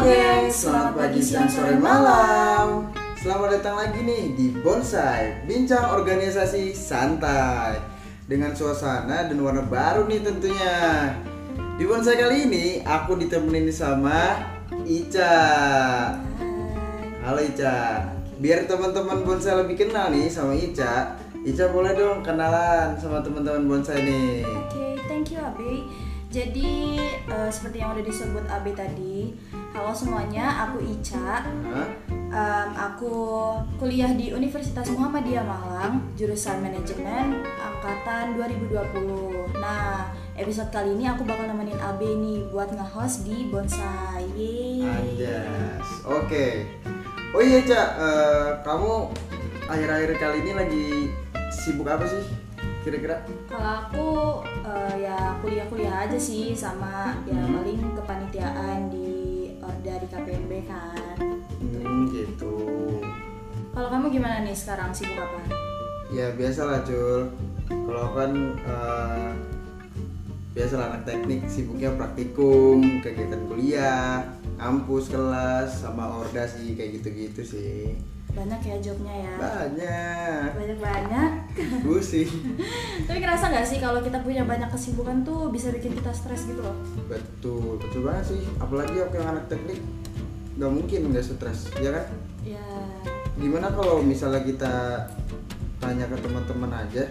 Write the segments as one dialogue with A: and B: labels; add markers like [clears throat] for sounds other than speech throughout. A: gengs, selamat pagi, siang, sore, malam. Selamat datang lagi nih di Bonsai, bincang organisasi santai dengan suasana dan warna baru nih tentunya. Di Bonsai kali ini aku ditemenin sama Ica. Halo Ica. Biar teman-teman Bonsai lebih kenal nih sama Ica, Ica boleh dong kenalan sama teman-teman Bonsai nih.
B: Oke, thank you Abe. Jadi eh, seperti yang udah disebut Abe tadi, halo semuanya, aku Ica.
A: Hah?
B: Em, aku kuliah di Universitas Muhammadiyah Malang, jurusan manajemen angkatan 2020. Nah, episode kali ini aku bakal nemenin Abe nih buat nge-host di Bonsai. Yeay.
A: Anjas. Oke. Oh iya, Cak. Eh, kamu akhir-akhir kali ini lagi sibuk apa sih? Kira-kira?
B: Kalau aku eh, ya kuliah-kuliah aja sih sama ya paling kepanitiaan di eh, Orda di KPMB kan.
A: Hmm, gitu.
B: Kalau kamu gimana nih sekarang sibuk apa?
A: Ya biasalah, Cul. Kalau aku kan eh, biasalah anak teknik sibuknya praktikum, kegiatan kuliah, kampus, kelas, sama orda sih kayak gitu-gitu sih.
B: Banyak ya jobnya ya.
A: Banyak.
B: Banyak-banyak. [laughs]
A: Pusing.
B: Tapi kerasa nggak sih kalau kita punya banyak kesibukan tuh bisa bikin kita stres gitu loh?
A: Betul, betul banget sih. Apalagi aku yang anak teknik, nggak mungkin nggak stres, ya kan?
B: Ya.
A: gimana kalau misalnya kita tanya ke teman-teman aja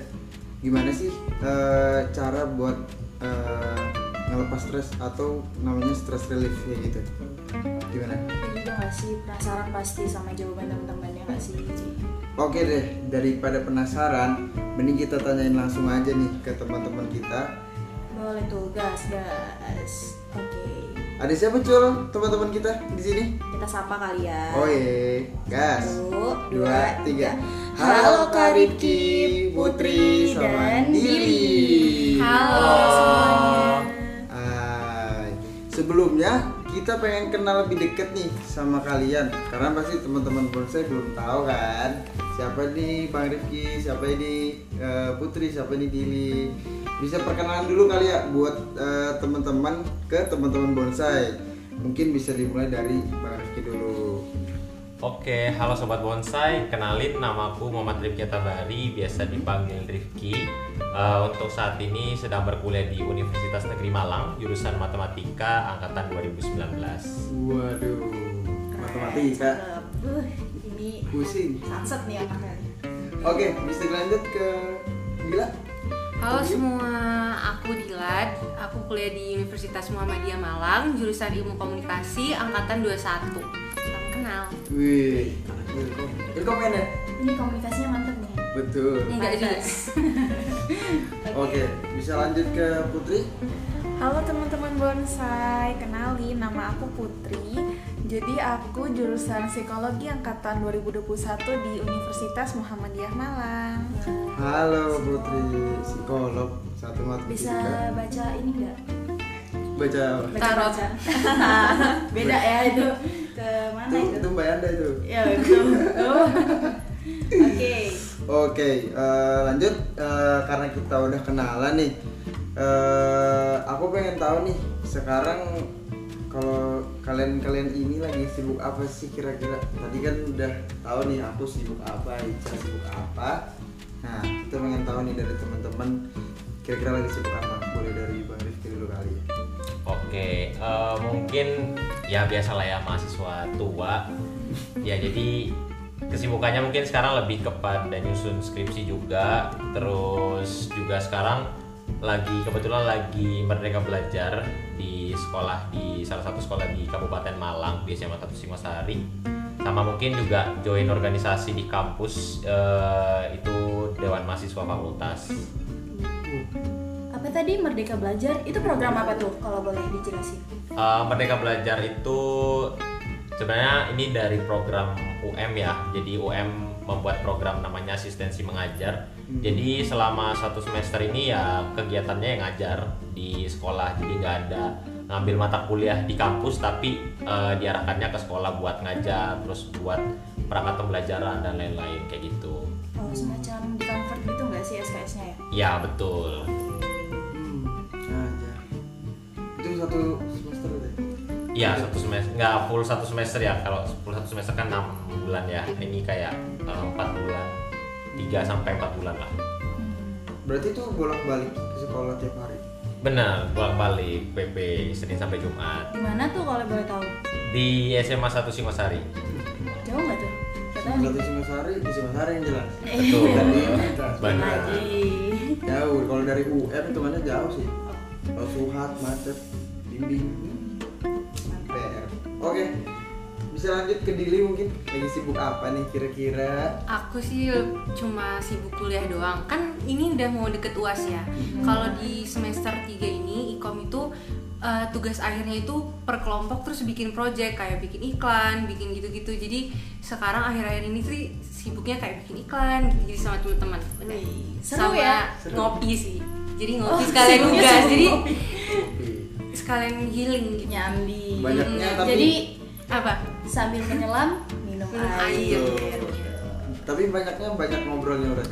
A: gimana sih eh, cara buat eh, ngelepas stres atau namanya stress relief kayak gitu gimana
B: Jadi juga nggak sih penasaran pasti sama jawaban teman-teman ya nggak sih?
A: oke deh daripada penasaran mending kita tanyain langsung aja nih ke teman-teman kita
B: Boleh tuh gas gas. Oke.
A: ada siapa cul teman-teman kita di sini
B: Kita sapa kali ya.
A: oh iya gas
B: Satu,
A: dua tiga
B: Halo Kak Rifki, Putri,
A: sama
B: dan
A: Dili
B: Billy. Halo semuanya.
A: Hai. Sebelumnya kita pengen kenal lebih deket nih sama kalian karena pasti teman-teman bonsai belum tahu kan siapa ini Bang Rifki, siapa ini eh, Putri, siapa ini Dili. Bisa perkenalan dulu kali ya buat eh, teman-teman ke teman-teman bonsai. Mungkin bisa dimulai dari Bang Rifki dulu.
C: Oke, halo sobat bonsai. Kenalin namaku Muhammad Rifki Tabari, biasa dipanggil Rifki. Eh, untuk saat ini sedang berkuliah di Universitas Negeri Malang, jurusan Matematika angkatan 2019.
A: Waduh, matematika
B: Cakep. Uh, ini
A: pusing.
B: sunset nih anaknya.
A: Oke, bisa lanjut ke Gila.
D: Halo semua, aku Dilat. Aku kuliah di Universitas Muhammadiyah Malang, jurusan Ilmu Komunikasi angkatan 21. Salam kenal.
A: Wih, itu komen ya?
B: Ini komunikasinya mantep nih.
A: Betul.
D: Enggak juga.
B: [laughs]
A: Oke, bisa lanjut ke Putri.
E: Halo teman-teman bonsai, kenalin nama aku Putri. Jadi aku jurusan psikologi angkatan 2021 di Universitas Muhammadiyah Malang.
A: Halo Putri, psikolog satu mata
B: Bisa baca ini nggak?
A: Baca apa?
D: Tarot.
B: Baca-baca. [laughs] Beda ya itu. Ke mana
A: Itu,
B: itu?
A: itu Mbak Yanda itu.
B: Ya itu. [laughs] Oke.
A: Oke, eh, lanjut Eh, karena kita udah kenalan nih. eh, aku pengen tahu nih sekarang kalau kalian-kalian ini lagi sibuk apa sih kira-kira? Tadi kan udah tahu nih aku sibuk apa, Ica sibuk apa. Nah, kita pengen tahu nih dari teman-teman kira-kira lagi sibuk apa? Boleh dari Bang Rifki dulu kali ya.
C: Oke, eh, mungkin ya biasalah ya mahasiswa tua. Ya jadi kesibukannya mungkin sekarang lebih kepada nyusun skripsi juga. Terus juga sekarang lagi kebetulan lagi merdeka belajar di sekolah di salah satu sekolah di Kabupaten Malang di SMA 1 Singosari. Sama mungkin juga join organisasi di kampus eh, itu Dewan Mahasiswa Fakultas.
B: Apa tadi Merdeka Belajar? Itu program apa tuh kalau boleh dijelasin?
C: Uh, Merdeka Belajar itu sebenarnya ini dari program UM ya. Jadi UM membuat program namanya asistensi mengajar.
A: Hmm.
C: Jadi selama satu semester ini ya kegiatannya yang ngajar di sekolah. Jadi nggak ada ngambil mata kuliah di kampus tapi uh, diarahkannya ke sekolah buat ngajar, terus buat perangkat pembelajaran dan lain-lain kayak gitu.
B: Oh, semacam di convert gitu nggak sih SKS-nya ya?
C: Ya betul.
A: Hmm, nah, ya. Itu satu ya. semester deh.
C: Iya satu semester, nggak full satu semester ya. Kalau full satu semester kan enam bulan ya. Ini kayak eh, empat bulan, tiga sampai empat bulan lah.
A: Berarti itu bolak-balik ke sekolah tiap hari.
C: Benar, bolak balik PP Senin sampai Jumat
B: Di mana tuh kalau boleh tahu?
C: di SMA 1 Singosari.
B: Jauh nggak tuh? Gak tahu nih.
A: Satu Singosari, di Singosari yang jelas.
C: [laughs] Betul.
A: Bukan di Universitas.
C: Bandung.
B: Lagi.
A: Jauh, kalau dari UM itu mana jauh sih. Kalau Suhat, macet, bimbing. PR. Oke. Bisa lanjut ke Dili mungkin lagi sibuk apa nih kira-kira?
D: Aku sih cuma sibuk kuliah doang. Kan ini udah mau deket UAS ya.
B: Mm-hmm.
D: Kalau di semester 3 ini Ikom itu eh, tugas akhirnya itu per kelompok terus bikin project kayak bikin iklan, bikin gitu-gitu. Jadi sekarang akhir-akhir ini sih sibuknya kayak bikin iklan gitu sama teman-teman.
B: seru
D: sama
B: ya?
D: ngopi sih. Jadi ngopi
B: Oh,
D: sekalian
B: sibuknya
D: tugas.
B: sibuk
D: Jadi
B: ngopi.
D: sekalian healing gitu.
B: Nyambi.
A: Banyaknya
D: Hmm,
A: tapi
B: Jadi
D: Apa?
B: sambil menyelam minum
D: Minum
B: air.
D: air.
A: Tuh. Tapi banyaknya banyak ngobrolnya udah.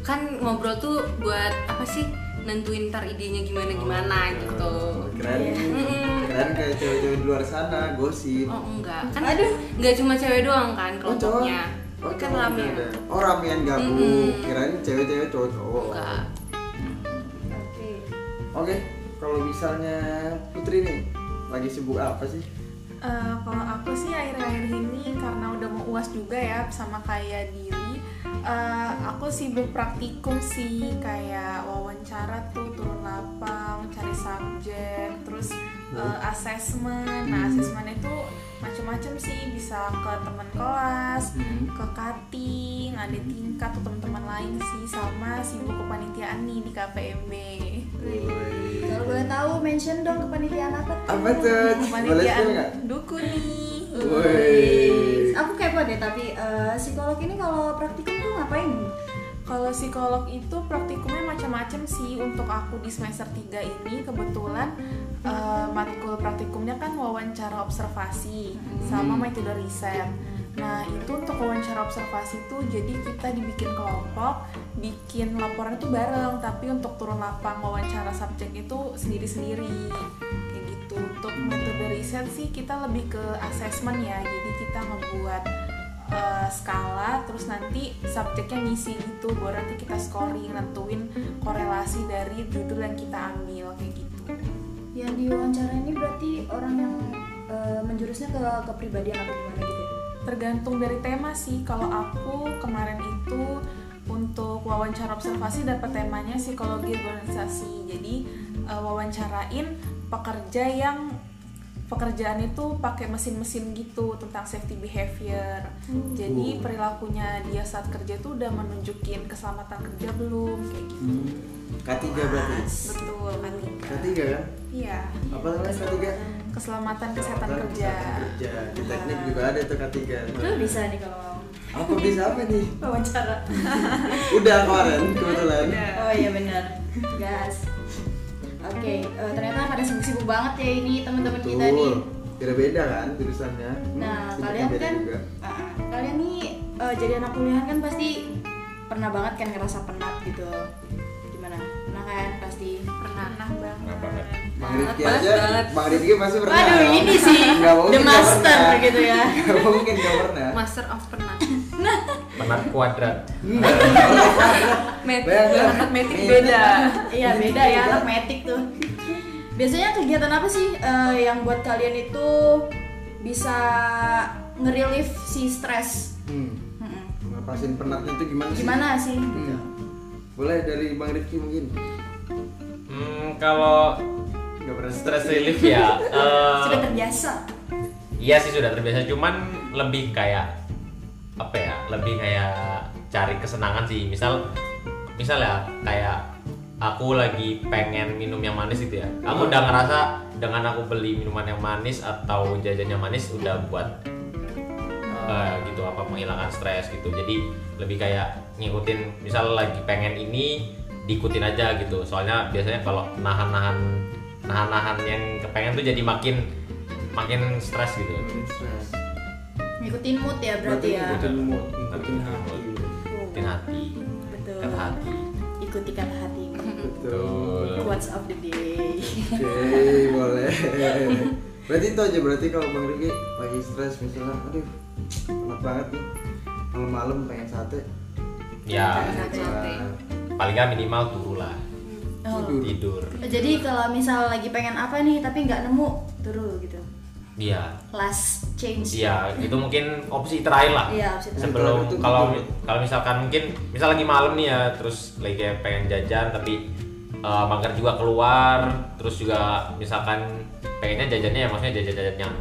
D: Kan ngobrol tuh buat apa sih? Nentuin ntar idenya gimana gimana
A: Oh, iya.
D: gitu.
A: Keren.
D: Mm-mm.
A: Keren kayak cewek-cewek di luar sana gosip.
D: Oh enggak, kan
B: Aduh.
D: enggak cuma cewek doang kan kelompoknya.
A: Oh,
D: kan
A: cowok
D: rame.
A: juga ada. Oh, ramean gabung.
D: Mm-mm.
A: Kirain cewek-cewek cowok-cowok.
D: Enggak.
B: Oke.
A: Oke, kalau misalnya Putri nih lagi sibuk apa sih?
E: Eh, kalau aku sih akhir-akhir ini karena udah mau uas juga ya sama kayak diri eh, aku sibuk praktikum sih kayak wawancara tuh turun lapang cari subjek terus eh, asesmen nah asesmen itu macam-macam sih bisa ke teman kelas
A: Hmm.
E: ke kating ada tingkat tuh teman-teman lain sih sama sibuk kepanitiaan nih di KPMB
B: Kalau boleh tahu mention dong kepanitiaan apa tuh?
A: Apa tuh? Boleh share nggak?
E: kepanitiaan duku nih
A: Woi.
B: Aku kepo deh tapi eh, psikolog ini kalau praktikum tuh ngapain?
E: Kalau psikolog itu praktikumnya macam-macam sih untuk aku di semester 3 ini kebetulan eh, matkul praktikumnya kan wawancara observasi sama metode riset. Nah, itu untuk wawancara observasi itu jadi kita dibikin kelompok, bikin laporan itu bareng tapi untuk turun lapang wawancara subjek itu sendiri-sendiri. Kayak gitu. Untuk metode riset sih kita lebih ke asesmen ya. Jadi kita ngebuat eh, skala terus nanti subjeknya ngisi gitu baru nanti kita scoring nentuin korelasi dari judul yang kita ambil kayak gitu
B: Yang diwawancara ini berarti orang yang eh, menjurusnya ke kepribadian apa gimana gitu? ya?
E: tergantung dari tema sih kalau aku kemarin itu untuk wawancara observasi dapat temanya psikologi organisasi jadi eh, wawancarain pekerja yang pekerjaan itu pakai mesin-mesin gitu tentang safety behavior jadi perilakunya dia saat kerja itu udah menunjukin keselamatan kerja belum kayak gitu
A: Hmm. K3 berarti.
E: Betul, kan Nika?
A: K3 kan?
E: Iya.
A: Apa namanya K3?
E: Keselamatan kesehatan
A: Kesehatan,
E: kerja.
A: kesehatan kerja. Di teknik juga ada tuh K3.
B: Itu bisa nih kalau
A: Aku bisa apa nih?
B: wawancara.
A: Udah kemarin kebetulan.
B: [laughs] Oh iya benar. Gas. Oke, eh, ternyata pada sibuk-sibuk banget ya ini teman-teman kita nih.
A: Betul. Tidak beda kan jurusannya? Hmm,
B: Nah,
A: sibuknya
B: kalian
A: beda
B: kan
A: juga.
B: Ah, ah. kalian nih eh, jadi anak kuliah kan pasti pernah banget kan ngerasa penat gitu. Gimana? Pernah kan pasti.
D: Pernah.
E: Nah,
C: Kenapa,
E: banget.
C: Mbak?
A: Bang Rifki
D: Banget,
A: aja,
D: banget.
A: Bang Rifki pasti pernah.
B: Waduh, ini sih
A: Nggak mungkin
B: the
A: nggak
B: master
A: pernah.
B: gitu
A: [laughs]
B: ya.
A: Gak mungkin gak pernah.
D: Master of
A: [laughs]
D: penat.
C: Penat kuadrat.
B: [laughs]
A: Nggak pernah.
D: Metik,
A: Beda.
D: anak metik beda.
B: Iya beda ya anak metik tuh. Biasanya kegiatan apa sih eh, yang buat kalian itu bisa ngerelief si stres?
A: Hmm,
B: Mm-mm.
A: Ngelepasin penatnya itu gimana sih?
B: Gimana sih?
A: Hmm. Boleh dari Bang Rifki mungkin.
C: Hmm, kalau
A: Gak pernah
C: stress relief ya. eh,
B: Sudah terbiasa.
C: Iya sih sudah terbiasa, cuman lebih kayak apa ya? Lebih kayak cari kesenangan sih. Misal, misal ya kayak aku lagi pengen minum yang manis gitu ya. Aku udah ngerasa dengan aku beli minuman yang manis atau jajannya manis udah buat eh, gitu apa menghilangkan stres gitu. Jadi lebih kayak ngikutin misal lagi pengen ini diikutin aja gitu. Soalnya biasanya kalau nahan-nahan nahan-nahan yang kepengen tuh jadi makin makin stres gitu.
A: Stress.
B: Ngikutin mood ya berarti ya.
A: ngikutin mood, ngikutin hati.
C: Ikutin hati,
B: Betul.
C: kat hati.
B: Ikutikan hatimu. [laughs]
A: Betul.
C: Betul.
B: Quotes of the day.
A: Oke, boleh. berarti itu aja berarti kalau bang Riki lagi stres misalnya aduh enak banget nih malam-malam pengen sate
C: ya
D: Makan sate.
C: paling nggak minimal turu lah
B: Oh.
A: Tidur.
C: tidur
B: Jadi kalau misal lagi pengen apa nih tapi nggak nemu, turu gitu.
C: iya
B: Last change.
C: Iya, itu mungkin opsi terakhir lah.
B: Iya, opsi terakhir.
C: Sebelum
A: Itu
C: kalau
A: betul.
C: kalau misalkan mungkin misal lagi malam nih ya, terus lagi kayak pengen jajan tapi eh, mager juga keluar, terus juga misalkan pengennya jajannya ya maksudnya jajan-jajan yang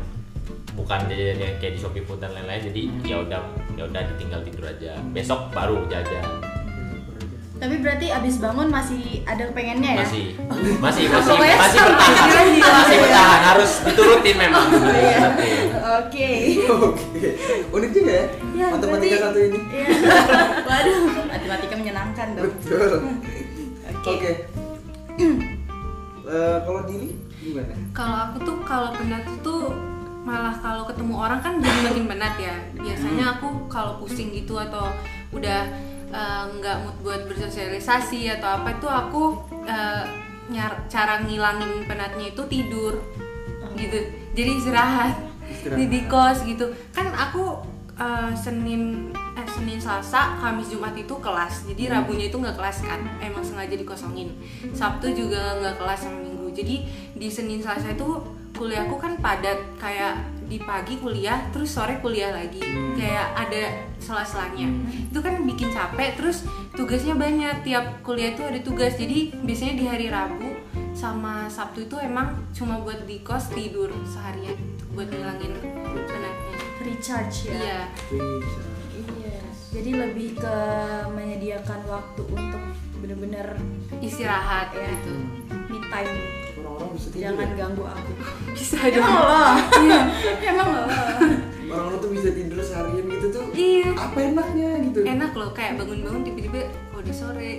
C: bukan jajan yang kayak di Shopee Food dan lain-lain. Jadi ya udah ya udah ditinggal tidur aja. Besok baru jajan.
B: Tapi berarti abis bangun masih ada pengennya ya?
C: Masih masih masih
B: Pokoknya
C: masih
B: sama
C: bertahan.
B: aja.
C: Masih bertahan, harus diturutin memang.
B: Iya.
C: Tapi,
B: Oke.
A: oke unik juga ya,
D: Iya,
B: Ya,
A: matematika
B: berarti-
A: satu ini
B: Iya. Waduh, matematika menyenangkan dong.
A: betul
D: Hmm.
B: Oke.
A: oke Eh, kalau diri gimana
D: Kalau aku tuh kalau penat tuh malah kalau ketemu orang kan jadi makin penat ya.
A: Hmm.
D: Biasanya aku kalau pusing gitu atau udah eh, nggak mood buat bersosialisasi atau apa itu aku eh, nyar- cara ngilangin penatnya itu tidur gitu. Jadi istirahat.
A: Hmm. Istirahat.
D: Di, di kos gitu. Kan aku eh, Senin eh, Senin Selasa, Kamis Jumat itu kelas. Jadi Rabunya itu nggak kelas kan. Emang sengaja dikosongin. Sabtu juga nggak kelas sama Minggu. Jadi di Senin Selasa itu kuliahku kan padat kayak di pagi kuliah terus sore kuliah lagi kayak ada sela-selanya itu kan bikin capek terus tugasnya banyak tiap kuliah tuh ada tugas jadi biasanya di hari Rabu sama Sabtu itu emang cuma buat di kos tidur seharian buat ngilangin penatnya
B: Recharge ya.
D: iya
B: Iya. Jadi lebih ke menyediakan waktu untuk bener-bener
D: istirahat ya
A: Gitu.
B: me
D: itu
B: time.
A: Iya. orang-orang bisa tidur
B: Jangan
A: ya?
B: ganggu aku.
D: bisa
B: Emang
D: dong
B: lo?
A: Iya.
B: [laughs] Emang lo?
A: orang-orang tuh bisa tidur seharian gitu tuh
D: iya
A: apa enaknya gitu
D: enak loh kayak bangun-bangun tiba-tiba oh, udah sore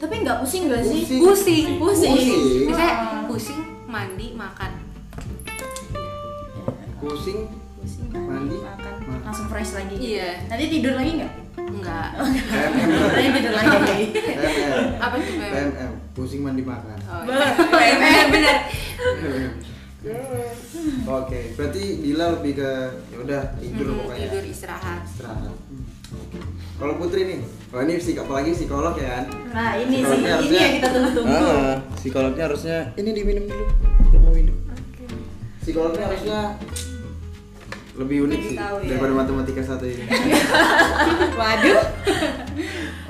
B: Tapi nggak pusing nggak sih?
D: Iya.
A: Pusing.
D: pusing
B: Pusing.
D: Iya.
A: Pusing.
D: Misalnya pusing mandi makan
A: pusing
B: Pusing.
A: Mandi.
B: Makan.
A: Makan.
B: Langsung fresh lagi.
D: Iya.
B: Nanti tidur lagi nggak?
D: enggak
B: Nanti tidur lagi.
A: PMM
D: [laughs] apa tuh Beb?
A: PMM pusing mandi makan
D: Oh, iya. [laughs] bener bener
A: oke berarti Dila lebih ke ya udah tidur
D: Mm,
A: pokoknya
D: tidur istirahat
A: istirahat Hmm, oke. kalau Putri nih kalau ini psik apalagi psikolog ya kan
B: Nah ini sih
A: Psikolognya
B: ini yang
A: harusnya-
B: kita tunggu-tunggu.
A: Ah, psikolognya harusnya ini diminum dulu aku mau minum psikolognya harusnya lebih unik
B: Lebih
A: sih
B: tahu ya.
A: daripada matematika satu
B: [laughs]
A: ini
B: Waduh.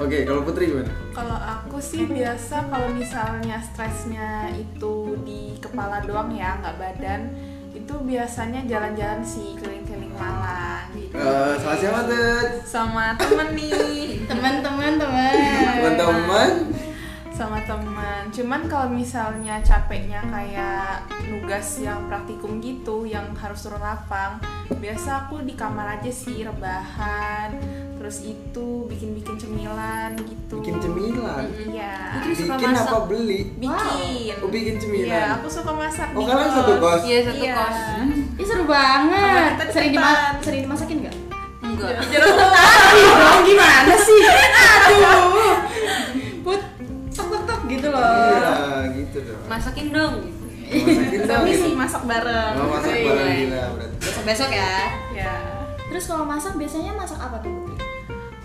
A: oke kalau Putri gimana
E: Kalau aku sih biasa kalau misalnya stresnya itu di kepala doang ya, nggak badan, itu biasanya jalan-jalan sih keliling-keliling Malang gitu.
A: Eh, salah siapa tuh
E: Sama temen nih,
B: Teman-teman teman.
A: teman-teman
E: sama teman. Cuman kalau misalnya capeknya kayak nugas yang praktikum gitu, yang harus turun lapang, biasa aku di kamar aja sih rebahan, terus itu bikin-bikin cemilan gitu.
A: bikin cemilan
E: Iya.
D: Putri suka
A: bikin
D: masak.
A: apa beli
D: bikin
A: oh bikin cemilan
E: Iya, aku suka masak.
A: oh
E: di
A: kalian
E: kos.
A: satu kos
D: iya satu
E: Iya. [laughs]
D: kos
B: Ih seru banget.
E: Sama kita
B: Sering dima
E: depan.
B: sering dimasakin nggak?
D: enggak
B: Aduh dong gimana sih? Aduh. Put tok tok tok gitu
A: iya
B: loh.
A: gitu dong
D: masakin dong
B: [laughs]
A: masakin dong
E: Kami
A: gitu.
E: sih masak bareng.
A: oh, masak
D: Iya.
A: bareng gila berarti
B: Besok ya.
E: Ya.
B: Terus kalau masak biasanya masak apa tuh Putri?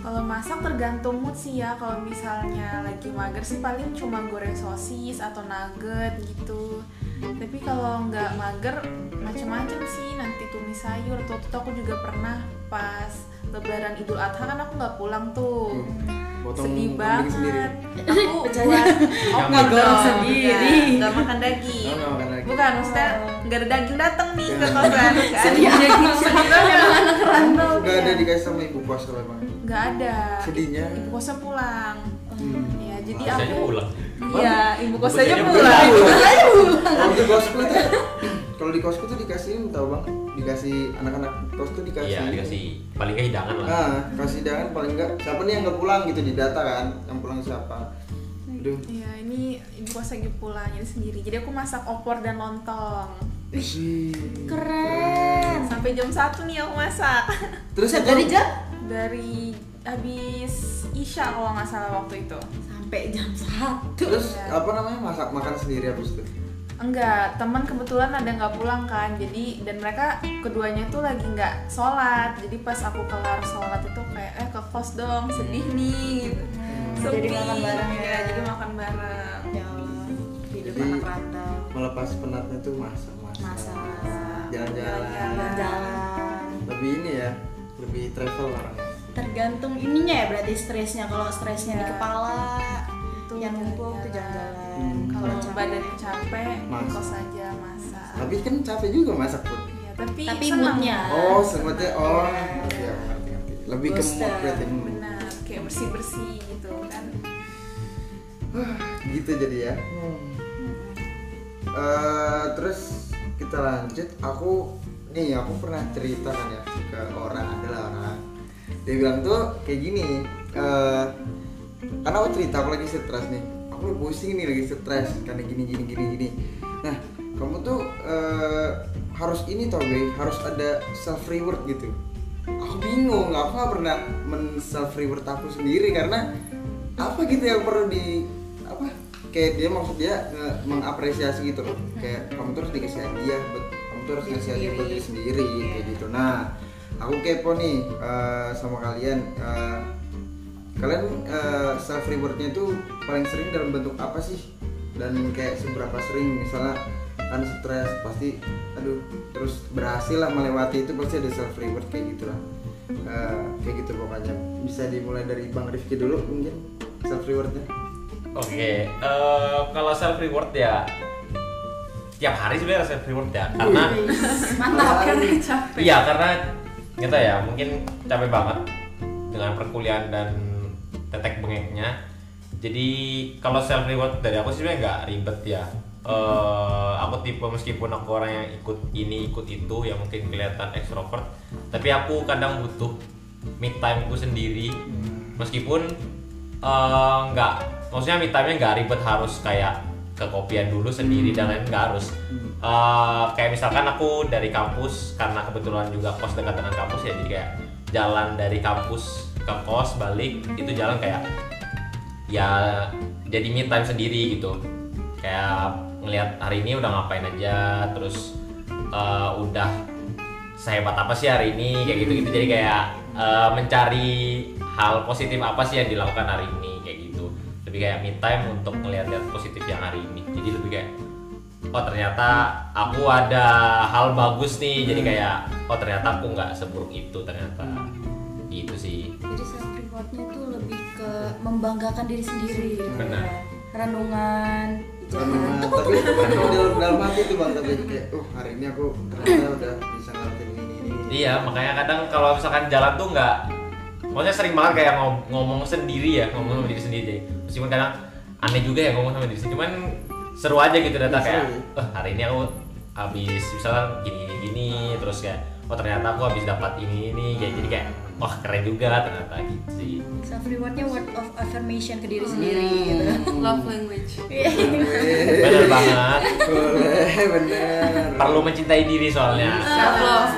E: Kalau masak tergantung mood sih ya. Kalau misalnya lagi mager sih paling cuma goreng sosis atau nugget gitu. Tapi kalau nggak mager macam-macam sih nanti tumis sayur atau itu aku juga pernah pas lebaran Idul Adha kan aku nggak pulang tuh.
A: Hmm. potong kambing
E: sedih banget.
A: sendiri
E: Aku buat oh nggak
B: Digoreng
E: dong,
B: sendiri.
E: nggak. nggak makan daging.
A: Oh, nggak makan daging.
E: Bukan, maksudnya nggak ada daging datang nih ke kosan. kan?
B: Sedih
D: Iya,
B: amat.
D: gitu.
B: Emang anak rantau.
A: nggak ada dikasih sama ibu kos kalau emang
E: Nggak ada.
A: iya. Sedihnya.
E: Ibu kosnya pulang.
A: Hmm.
E: Ya, jadi
C: biasanya
E: aku
C: pulang.
E: Iya, ibu kosnya
C: Ibu kosnya
E: pulang.
C: Iya,
A: kalau di kosku tuh kalau di kosku tuh dikasihin tau bang dikasih anak-anak kos tuh dikasih
C: Iya, dikasih paling nggak hidangan lah.
A: ah kasih jangan paling enggak siapa nih yang nggak pulang gitu di data kan yang pulang siapa aduh
E: Iya, ini ibu kos lagi pulang jadi sendiri. Jadi aku masak opor dan lontong.
B: Keren.
A: Hmm.
E: Sampai jam 1 nih aku masak.
A: terus itu
B: Dari jam
E: Dari habis Isya kalau nggak salah waktu itu.
B: sampai jam satu.
A: terus apa namanya masak makan sendiri habis itu
E: Eh, Enggak, teman kebetulan ada nggak pulang kan, jadi dan mereka keduanya tuh lagi nggak sholat, jadi pas aku kelar sholat itu kayak eh ke kos dong, sedih nih, gitu.
B: Hmm. jadi makan bareng ya.
E: ya, jadi makan bareng.
B: Ya Allah, hidup
A: Jadi-
B: anak rantau.
A: melepas penatnya tuh masak masak,
B: Masak.
A: jalan-jalan
B: Jalan-jalan.
A: lebih ini ya lebih travel orangnya
B: Tergantung ininya ya berarti stresnya. Kalau stresnya di
E: Iya.
B: kepala,
E: Itu
B: yang numpuk
E: jalan-jalan.
B: tuh jalan-jalan.
A: Hmm.
E: Kalau
B: capek-
E: badannya capek,
A: Masak.
E: kos aja masak.
A: tapi kan capek juga masak pun
E: Iya, tapi,
B: tapi
E: senang.
B: moodnya.
A: oh seperti oh ngerti aku, ngerti ngerti lebih ke
B: Bosen.
A: mood berarti hmm.
E: Benar, kayak bersih-bersih gitu kan.
A: gitu jadi ya Eh, terus kita lanjut aku nih aku pernah cerita kan ya ke orang adalah orang dia bilang tuh kayak gini eh, karena aku cerita aku lagi stres nih aku lagi pusing nih lagi stres karena gini gini gini gini nah kamu tuh eh, harus ini tau Be, harus ada self reward gitu aku bingung aku nggak pernah men self reward aku sendiri karena apa gitu yang perlu di apa kayak dia maksud dia nge- mengapresiasi gitu loh kayak kamu terus dikasih hadiah buat kamu terus
D: Diri
A: ngasih hadiah buat
D: sendiri.
A: diri sendiri kayak gitu nah aku kepo nih eh, sama kalian eh, kalian eh, self rewardnya itu paling sering dalam bentuk apa sih dan kayak seberapa sering misalnya kan stres pasti aduh terus berhasil lah melewati itu pasti ada self reward kayak gitu lah Eh, kayak gitu pokoknya bisa dimulai dari bang Rifki dulu mungkin self rewardnya
C: Oke, eh, kalau self reward ya tiap hari sebenarnya self reward ya karena
D: Mantap karena capek.
C: Iya karena kita ya mungkin capek banget dengan perkuliahan dan tetek bengeknya. Jadi kalau self reward dari aku sih sebenarnya nggak ribet ya. Eh, aku tipe meskipun aku orang yang ikut ini ikut itu yang mungkin kelihatan ekstrovert, tapi aku kadang butuh me time ku sendiri. Meskipun eh, nggak, maksudnya me time-nya nggak ribet harus kayak ke kopian dulu sendiri dan lain nggak harus. Eh, kayak misalkan aku dari kampus karena kebetulan juga kos dekat dengan kampus ya jadi kayak jalan dari kampus ke kos balik itu jalan kayak ya jadi me time sendiri gitu kayak ngelihat hari ini udah ngapain aja terus eh, udah sehebat apa sih hari ini kayak gitu gitu jadi kayak eh, mencari hal positif apa sih yang dilakukan hari ini kayak gitu lebih kayak me time untuk ngelihat-lihat positif yang hari ini jadi lebih kayak oh ternyata aku ada hal bagus nih jadi kayak oh ternyata aku nggak seburuk itu ternyata gitu sih
B: Jadi self rewardnya tuh lebih ke membanggakan diri sendiri.
C: Benar.
B: Renungan,
A: Renungan,
B: jalan.
A: tapi kalau dalam dalam hati tuh bang tapi kayak oh hari ini aku ternyata udah bisa ngelakuin ini ini, ini
C: Iya, makanya kadang kalau misalkan jalan tuh nggak, maksudnya sering banget kayak ngom- ngomong sendiri ya, ngomong sama diri sendiri jadi. Meskipun kadang aneh juga ya ngomong sama diri sendiri, cuman seru aja gitu data
A: Iya,
C: kayak,
A: seru.
C: "Eh, hari ini aku habis misalnya gini gini gini, terus kayak, oh ternyata aku habis dapat ini ini, kayak jadi kayak, wah keren juga ternyata gitu sih.
B: Self rewardnya word of affirmation ke diri sendiri gitu.
D: Love language.
C: Bener banget,
A: boleh bener
C: perlu mencintai diri soalnya.
D: Self love.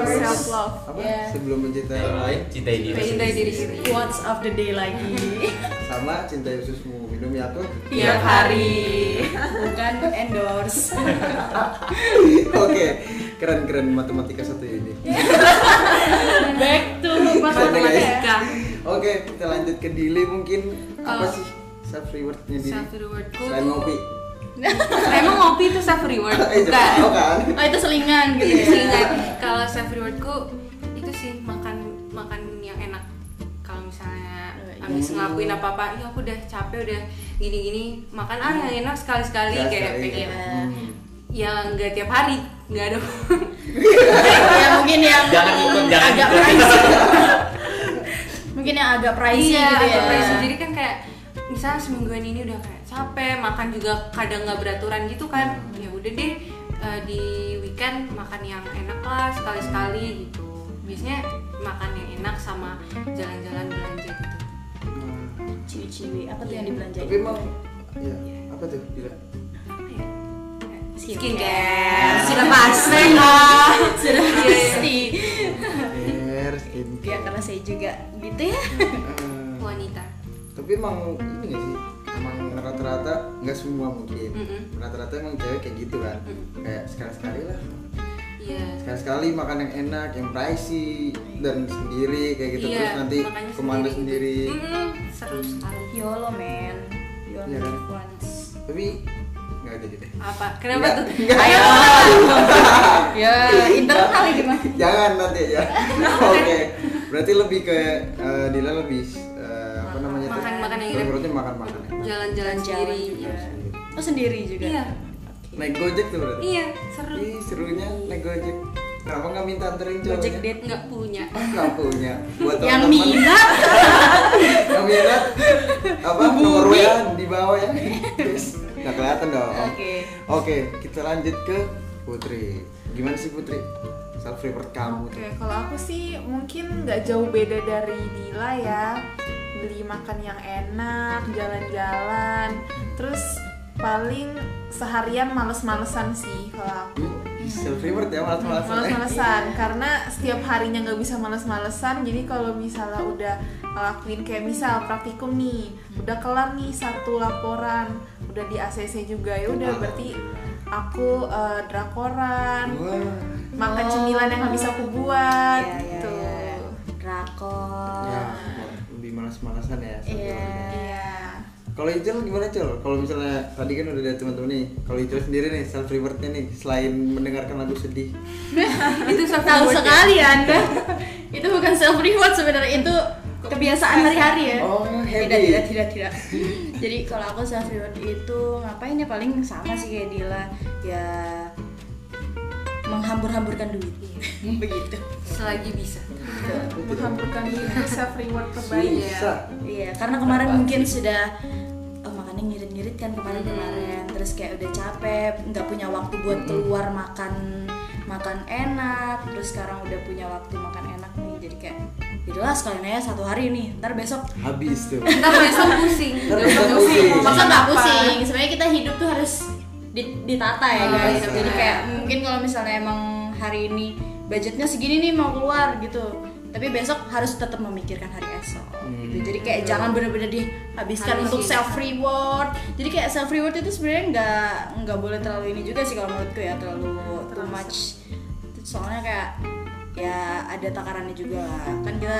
A: Sebelum-
E: self love.
A: apa
B: Iya.
A: sebelum mencintai orang lain
C: Cintai diri
D: Mencintai
C: sendiri.
D: diri sendiri.
B: Quotes of the day lagi.
A: sama cintai ususmu minum yakult
D: Tiap hari.
B: Bukan endorse.
A: oke keren keren matematika satu ini
B: Back to
D: Matematika.
A: oke kita lanjut ke Dili mungkin apa
D: Kalau-
A: sih self rewardnya Dili
D: Self rewardku.
A: selain ngopi [laughs]
D: Emang ngopi itu self reward
A: Eh,
D: bukan?
A: jauh kan
B: Oh itu selingan gitu ya.
D: Seingat kalau self rewardku itu sih makan makan yang enak. Kalau misalnya habis ngelakuin apa-apa, iya aku udah capek udah gini-gini, makan ah yang enak sekali-sekali
A: Sekali-sekali,
D: kayak pengen.
A: ya.
D: Ya nggak tiap hari, nggak ada. [laughs]
B: ya mungkin yang
C: Jangan ikut, jangan
B: agak
C: ikut.
B: pricey. mungkin yang agak pricey
D: iya,
B: gitu ya.
D: atau price sendiri kan kayak misalnya semingguan ini udah kayak capek, makan juga kadang nggak beraturan gitu kan. Ya udah deh eh, di weekend makan yang enak lah sekali-sekali gitu. Biasanya makan yang enak sama jalan-jalan belanja gitu.
B: Ciwi-ciwi apa tuh yang dibelanjain?
A: Iya, tapi emang ya apa tuh Dila
D: Apa ya? Kayak
B: Skincare.
D: [laughs] sudah Iya. pasti lah.
B: sudah
D: iya.
B: pasti.
A: air skincare
B: Ya karena saya juga gitu ya.
A: Eh,
D: Iya. Wanita.
A: tapi emang ini gak sih emang rata-rata nggak semua mungkin
D: Mm-mm.
A: rata-rata emang cewek kayak gitu kan
D: Mm.
A: kayak sekali-sekali lah
D: Iya.
A: sekali-sekali makan yang enak yang pricey dan sendiri kayak gitu
D: Iya,
A: terus nanti
D: makanya
A: kemana sendiri,
D: gitu. Mm-mm, seru sekali.
B: YOLO men YOLO
A: Iya kan?
B: once
A: tapi nggak jadi deh
D: Apa? Kenapa
A: Nggak,
D: tuh?
A: nggak.
D: Ayo.
B: Ya internal ini mah
A: jangan nanti
B: [laughs]
A: ya oke berarti lebih ke eh, Dila lebih eh, apa namanya tuh?
D: Makan-makan yang enak.
A: berarti makan makan
D: Jalan-jalan
B: Jalan-jalan
D: sendiri.
B: juga. Oh sendiri juga
D: Iya.
A: naik gojek tuh berarti
D: Iya, seru.
A: Ih, serunya naik gojek kenapa nggak minta anterin cowoknya
B: Gojek date
D: Nggak punya.
A: Oh, nggak punya buat
B: Yang
A: teman-teman
B: minat
A: yang minat apa nomor WA di bawah ya Terus, nggak kelihatan dong
B: Oke.
A: Oke, kita lanjut ke Putri gimana sih Putri self favorite kamu
E: Oke,
A: tuh
E: kalau aku sih mungkin nggak jauh beda dari Dila ya. Beli makan yang enak, jalan-jalan, terus paling seharian males-malesan sih kalau aku.
A: Hmm, self favorite ya malas malasan
E: Males-malesan karena setiap harinya nggak bisa males-malesan. Jadi kalau misalnya udah ngelakuin kayak misal praktikum nih, udah kelar nih satu laporan, udah di ACC juga ya udah berarti aku eh,
B: kan
E: drakoran,
A: Wah.
E: makan
B: Oh.
E: cemilan yang habis aku buat
B: Iya, iya,
E: gitu.
B: iya. Rakor
A: ya lebih malas-malasan ya
B: Iya
A: sebetulnya. kalau Icul gimana Cul? kalau misalnya tadi kan udah ada teman-teman nih kalau Icul sendiri nih self rewardnya nih selain mendengarkan lagu
B: [laughs]
A: sedih
D: Itu self
B: Tahu sekali ya anda [laughs] Itu bukan self reward sebenarnya itu kebiasaan hari-hari ya
A: Oh,
B: Tidak,
A: habit.
B: tidak, tidak, tidak [laughs] Jadi kalau aku self reward itu ngapain ya paling sama sih kayak Dila Ya menghambur-hamburkan duit [laughs] Begitu
D: selagi bisa.
E: menghamburkan diri itu self
B: [laughs]
E: reward
B: ya.
E: terbaik
A: susah
B: Iya, karena kemarin
C: Berapa
B: mungkin sudah oh, makannya ngirit-ngirit kan kemarin-kemarin, terus kayak udah capek, nggak punya waktu buat keluar makan makan enak, terus sekarang udah punya waktu makan enak nih, jadi kayak jadilah sekalian aja satu hari nih, ntar besok
A: habis tuh
D: Ntar besok pusing.
A: Ntar besok pusing.
D: Iya.
B: masa nggak
E: Apa?
B: pusing sebenarnya kita hidup tuh harus di- ditata ya
D: Oh,
B: guys
A: iya.
B: jadi kayak mungkin kalau misalnya emang hari ini budgetnya segini nih mau keluar gitu tapi besok harus tetap memikirkan hari esok gitu. jadi kayak jangan bener-bener dihabiskan
D: Habisin.
B: untuk self reward jadi kayak self reward itu sebenarnya nggak nggak boleh terlalu ini juga sih kalau menurutku ya terlalu too much soalnya kayak ya ada takarannya juga lah. kan kita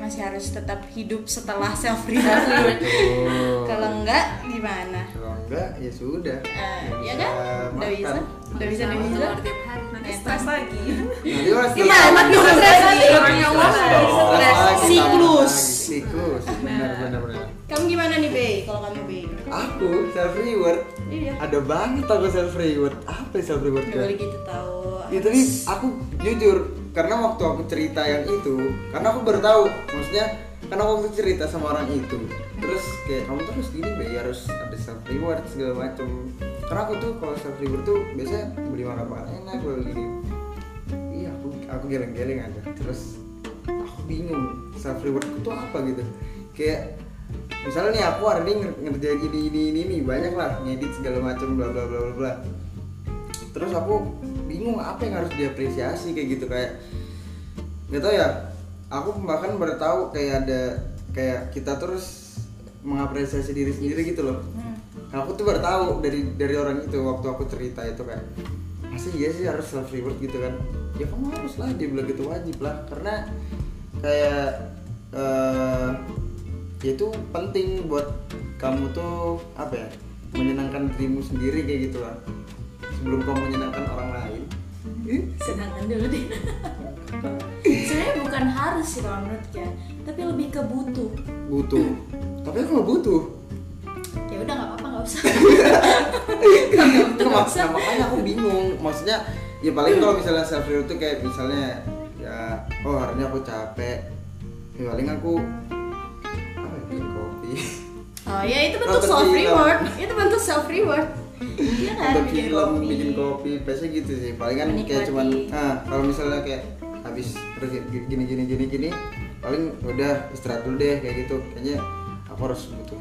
B: masih harus tetap hidup setelah self reward
A: Tuh.
B: [laughs] kalau enggak gimana?
A: kalau enggak ya sudah
B: Eh,
A: Nggak
B: ya kan? Udah
A: makan.
B: bisa? Udah bisa, udah
D: Sama
B: bisa?
D: telur tiap hari.
E: nanti stres lagi
A: nanti orang
B: Kita amat dulu berarti.
D: Nggak punya uang,
C: Stres dong.
D: stres.
B: Siklus.
A: Oh,
B: Nah.
A: siklus benar benar benar
B: Kamu gimana nih, Bey? Kalau kamu, Bey?
A: aku self reward
B: Iya.
A: ada banget aku self reward apa self reward
B: Gak boleh gitu tahu.
A: Ya tapi aku jujur karena waktu aku cerita yang itu, karena aku baru tahu maksudnya karena waktu cerita sama orang itu, terus kayak kamu terus gini be ya harus ada self reward segala macem. Karena aku tuh kalau self reward tuh biasanya beli makan makan enak beli iya aku aku geleng-geleng aja terus aku bingung self rewardku tuh apa gitu kayak misalnya nih aku hari ini nger- ngerjain ini ini ini ini banyak lah ngedit segala macam bla bla bla bla bla terus aku bingung apa yang harus diapresiasi kayak gitu kayak nggak tahu ya aku bahkan baru tahu kayak ada kayak kita terus mengapresiasi diri sendiri gitu loh Nah, aku tuh baru tahu dari dari orang itu waktu aku cerita itu kayak masa iya sih harus self reward gitu kan ya kamu harus lah dia bilang gitu wajib lah karena kayak eh ya itu penting buat kamu tuh apa ya menyenangkan dirimu sendiri kayak gitu lah sebelum kamu menyenangkan orang lain Ih,
B: Sedangkan dulu deh. [laughs] Sebenarnya bukan harus sih kalau menurutku ya, tapi lebih ke butuh.
A: butuh tapi aku nggak butuh
B: Ya udah nggak apa-apa, nggak usah.
A: Itu mak- [laughs] nah, makanya aku bingung maksudnya ya paling kalau misalnya self reward tuh kayak misalnya ya oh hari ini aku capek ya paling aku apa ya, bikin kopi [laughs]
B: Oh ya itu
A: Nonton
B: bentuk self
A: film.
B: reward. Itu bentuk self reward. Iya kan?
A: untuk film bikin kopi biasanya gitu sih paling kan kayak
B: Menikmati.
A: cuman ah kalau misalnya kayak habis kerja gini gini gini gini paling udah istirahat dulu deh kayak gitu kayaknya aku harus butuh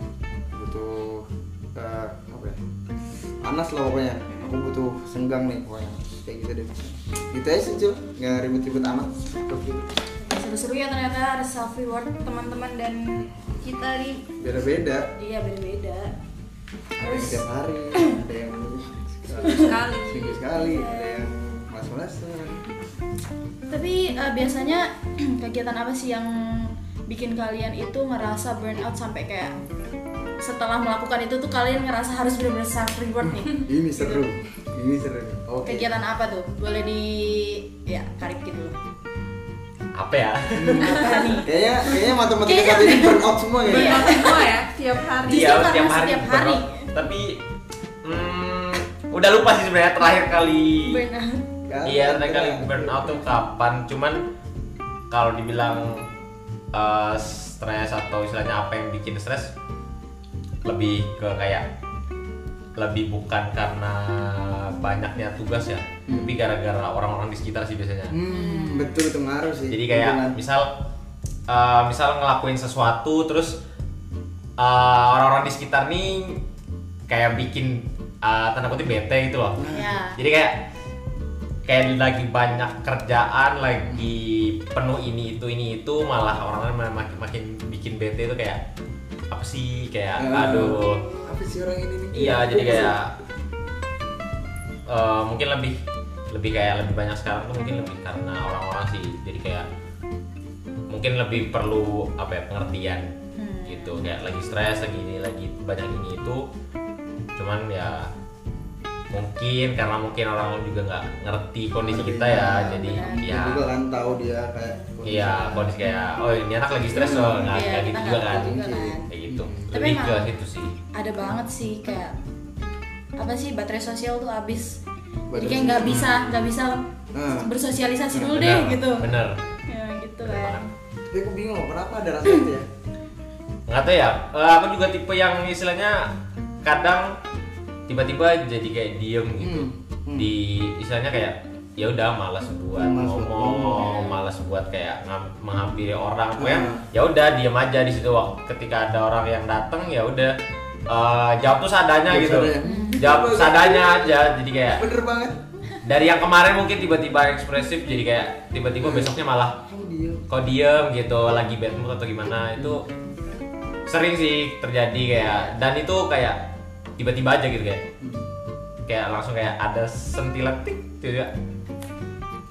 A: butuh eh, apa ya panas lah pokoknya aku butuh senggang nih pokoknya kayak gitu deh gitu aja sih cuy nggak ribut-ribut amat
B: Seru-seru ya ternyata harus self reward teman-teman dan kita nih
A: beda-beda
B: Iya beda-beda.
A: Ada yang setiap hari, ada yang
D: sekali.
A: seminggu sekali, ada yang mas malasan
B: Tapi eh, biasanya [clears throat] kegiatan apa sih yang bikin kalian itu ngerasa burnout sampai kayak setelah melakukan itu tuh kalian ngerasa harus benar-benar self reward nih.
A: Ini seru, ini seru. Oke.
B: Kegiatan apa tuh? Boleh di ya karip gitu.
C: apa ya
A: Kayaknya kayaknya matematika
B: Kayaknya-
A: satu ini burn out semua ya.
B: Iya.
D: Burnout semua ya tiap hari.
B: Iya. karena setiap
C: burn out.
B: hari.
C: tapi hmm, udah lupa sih sebenarnya terakhir kali
B: Burnout.
A: Kan?
C: iya terakhir kali burn out tuh kapan cuman kalau dibilang eh, stres atau istilahnya apa yang bikin stres lebih ke kayak lebih bukan karena banyaknya tugas ya
A: Hmm.
C: tapi gara-gara orang-orang di sekitar sih biasanya
A: Hmm, betul itu ngaruh sih.
C: jadi kayak
A: Hubungan.
C: misal eh, misal ngelakuin sesuatu terus eh, orang-orang di sekitar nih kayak bikin eh, tanda kutip bete gitu loh
B: Ya.
C: jadi kayak kayak lagi banyak kerjaan lagi penuh ini itu ini itu malah orang-orang malah makin makin bikin bete itu kayak apa sih
A: Eh,
C: kayak aduh
A: Apa sih orang ini nih?
C: Ah. Iya, jadi kayak eh, mungkin lebih lebih kayak lebih banyak sekarang tuh mungkin lebih karena orang-orang sih jadi kayak mungkin lebih perlu apa ya pengertian
B: Hmm.
C: gitu kayak lagi stres lagi ini lagi banyak ini itu cuman ya mungkin karena mungkin orang juga nggak ngerti kondisi kita ya
B: iya.
C: jadi
A: Dia
B: gitu
C: ya
A: juga kan tahu dia kayak
C: iya kondisi kayak oh ini anak lagi stres loh nggak
B: Iya,
C: nggak
B: kita
C: gitu
B: nggak
C: juga
B: tahu
C: kan
B: juga kan.
C: kayak gitu
B: Tapi
C: lebih ke
B: emang-
C: situ sih
B: Ada banget sih kayak apa sih baterai sosial tuh habis. Jadi
A: Baterai
B: kayak nggak bisa nggak bisa
A: Hmm.
B: bersosialisasi dulu deh
C: Bener,
B: gitu.
C: bener
B: Ya gitu
C: bener
B: kan.
C: banget.
A: Tapi aku bingung loh, kenapa ada rasa itu ya?
C: nggak tahu ya eh, aku juga tipe yang istilahnya kadang tiba-tiba jadi kayak diem gitu
A: Hmm, hmm.
C: di istilahnya kayak ya udah malas buat
A: Malas buat
C: ngomong malas buat kayak ngam- menghampiri orang pokoknya
A: Hmm.
C: ya udah diem aja di situ Wak- ketika ada orang yang datang ya udah eh, jawab tuh sadanya
A: Jawab
C: gitu
A: sadanya.
C: jawab sadanya aja jadi kayak
A: Hmm, Bener banget.
C: dari yang kemarin mungkin tiba-tiba ekspresif jadi kayak tiba-tiba
A: Hmm.
C: besoknya malah
A: Kamu dia.
C: kok diem gitu lagi bad mood atau gimana itu sering sih terjadi kayak dan itu kayak tiba-tiba aja gitu kayak
A: Hmm,
C: kayak langsung kayak ada sentilan tik gitu ya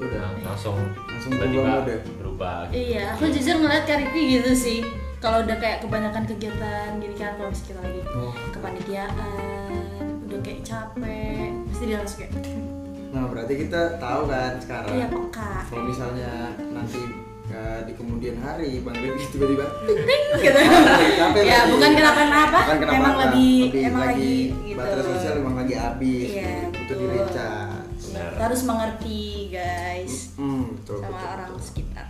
A: Udah.
C: Nah, langsung
A: Langsung berubah ya?
C: tiba-tiba
A: mode.
C: berubah gitu.
B: Iya, aku jujur ngeliat Kariki gitu sih. Kalau udah kayak kebanyakan kegiatan gini kan, kalau misalnya kita lagi
A: Oh.
B: kepanitiaan, udah kayak capek, pasti dia langsung kayak,
A: Nah, berarti kita tahu kan sekarang.
B: iya peka.
A: [laughs] Kalau misalnya nanti eh, di kemudian hari Bang Rifki tiba-tiba "Ding,
B: Gitu.
A: capek
B: ya
A: berarti."
B: bukan kenapa-napa,
A: Bukan kenapa-napa,
B: emang lagi,
A: tapi
B: emang lagi, gitu.
A: baterai sosial emang lagi habis gitu,
B: Iya,
A: butuh
B: betul.
A: direcas
B: Ya, kita harus mengerti guys,
A: hmm, betul,
B: sama
A: betul,
B: orang
A: betul.
B: sekitar.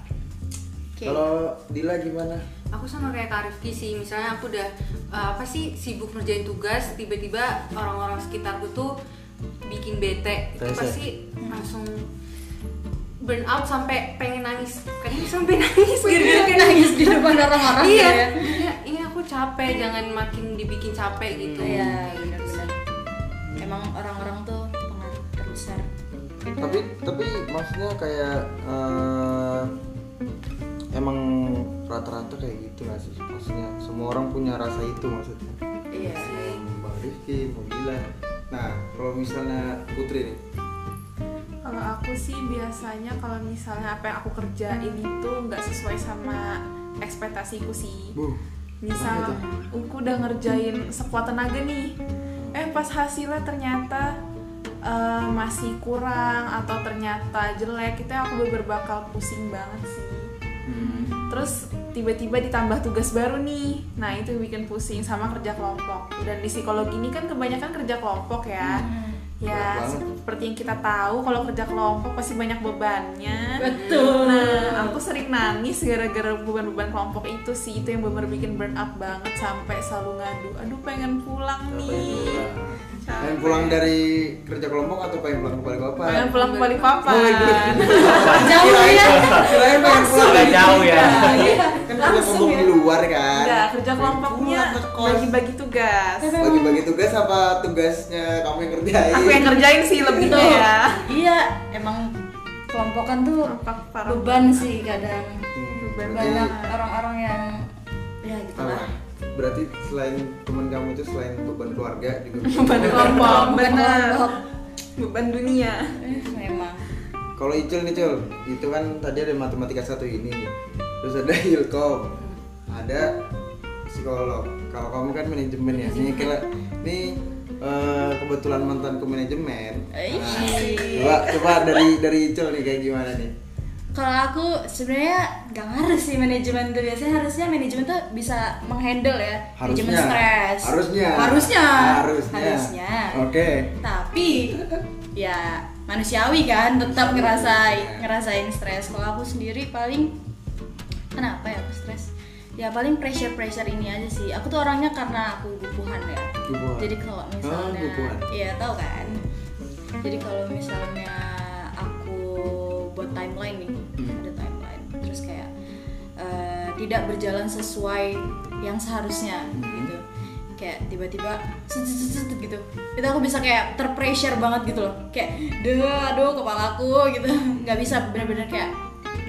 B: Oke.
A: kalau Dila gimana
D: Aku sama kayak Kak Rifki sih, misalnya aku udah eh, apa sih sibuk ngerjain tugas, tiba-tiba orang-orang sekitarku tuh bikin bete, itu
A: Terus ya?
D: pasti langsung burn out sampai pengen nangis, kadang sampai [laughs] nangis gara-gara kayak
B: nangis di depan orang-orang
D: iya,
B: gitu ya.
D: iya, ini aku capek, jangan makin dibikin capek gitu.
B: Iya, benar-benar. Emang orang-orang tuh pengaruh terbesar.
A: tapi tapi maksudnya kayak eh, emang rata-rata kayak gitu nggak sih maksudnya semua orang punya rasa itu maksudnya
B: Iya.
A: Mau Bang Rifki mau Dila nah kalau misalnya Putri nih
E: Kalau aku sih biasanya kalau misalnya apa yang aku kerjain
B: Hmm.
E: itu nggak sesuai sama ekspektasiku sih.
A: bu
E: Misal aku udah ngerjain sekuat tenaga nih, eh pas hasilnya ternyata eh, masih kurang atau ternyata jelek, itu aku bener bakal pusing banget sih.
A: Hmm.
E: Terus tiba-tiba ditambah tugas baru nih, nah itu yang bikin pusing sama kerja kelompok. Dan di psikologi ini kan kebanyakan kerja kelompok ya.
B: Hmm.
E: Ya,
A: Berat banget.
E: seperti yang kita tahu kalau kerja kelompok pasti banyak bebannya.
B: Betul.
E: Nah, aku sering nangis gara-gara beban-beban kelompok itu sih. Itu yang bener bikin burn out banget sampai selalu ngadu. Aduh, pengen
A: Apa
E: pulang
A: yang
E: nih.
A: dulu?
E: Capek.
A: ya, Pengen pulang dari kerja kelompok atau pengen pulang ke Balikpapan?
E: Pengen pulang kembali papan.
A: Oh, iya.
B: Jauh ya.
A: Kirain pengen pulang
C: Agak jauh ya
A: Kan kerja kelompok di luar kan.
E: Iya. ya. Enggak, kerja
A: Pengen
E: kelompoknya
A: pulang ke kos.
E: bagi-bagi tugas.
A: Bagi-bagi tugas apa tugasnya kamu yang kerjain?
E: Aku yang ngerjain sih lebihnya
A: gitu.
B: Betul.
E: ya.
B: Gitu Iya, emang kelompokan tuh
E: Kompak parah.
B: beban sih kadang.
A: Hmm,
E: Beban
A: berarti
B: Banyak orang-orang yang ya gitu
A: apa?
B: lah.
A: berarti selain teman kamu itu selain beban keluarga
E: [laughs]
A: juga
D: Beban kelompok.
F: benar
B: Kelompok.
F: beban dunia
B: Eh, memang
A: Kalau Icul nih Cul, itu kan tadi ada matematika satu ini, terus ada [laughs] ilkom, ada psikolog. Kalau kamu kan manajemen ya, ini kira ini eh, kebetulan mantan ke manajemen.
B: Eh.
A: coba coba dari dari Icul nih kayak gimana nih?
B: kalau aku sebenarnya nggak ngaruh sih manajemen tuh biasanya harusnya manajemen tuh bisa menghandle ya manajemen
A: Harusnya.
B: stres
A: Harusnya.
B: harusnya
A: Harusnya. Oh.
B: Harusnya.
A: Oke.
B: tapi ya manusiawi kan tetap ngerasain ngerasain stres kalau aku sendiri paling kenapa ya aku stres ya paling pressure pressure ini aja sih aku tuh orangnya karena aku gupuhan ya
A: Gupuhan.
B: jadi kalau
A: Ah,
B: misalnya
A: gupuhan.
B: iya tahu kan jadi kalau misalnya aku buat timeline nih ada timeline terus kayak eh, tidak berjalan sesuai yang seharusnya gitu kayak tiba-tiba set, set, set, set gitu itu aku bisa kayak terpressure banget gitu loh kayak duh aduh kepala aku gitu [laughs] nggak bisa benar-benar kayak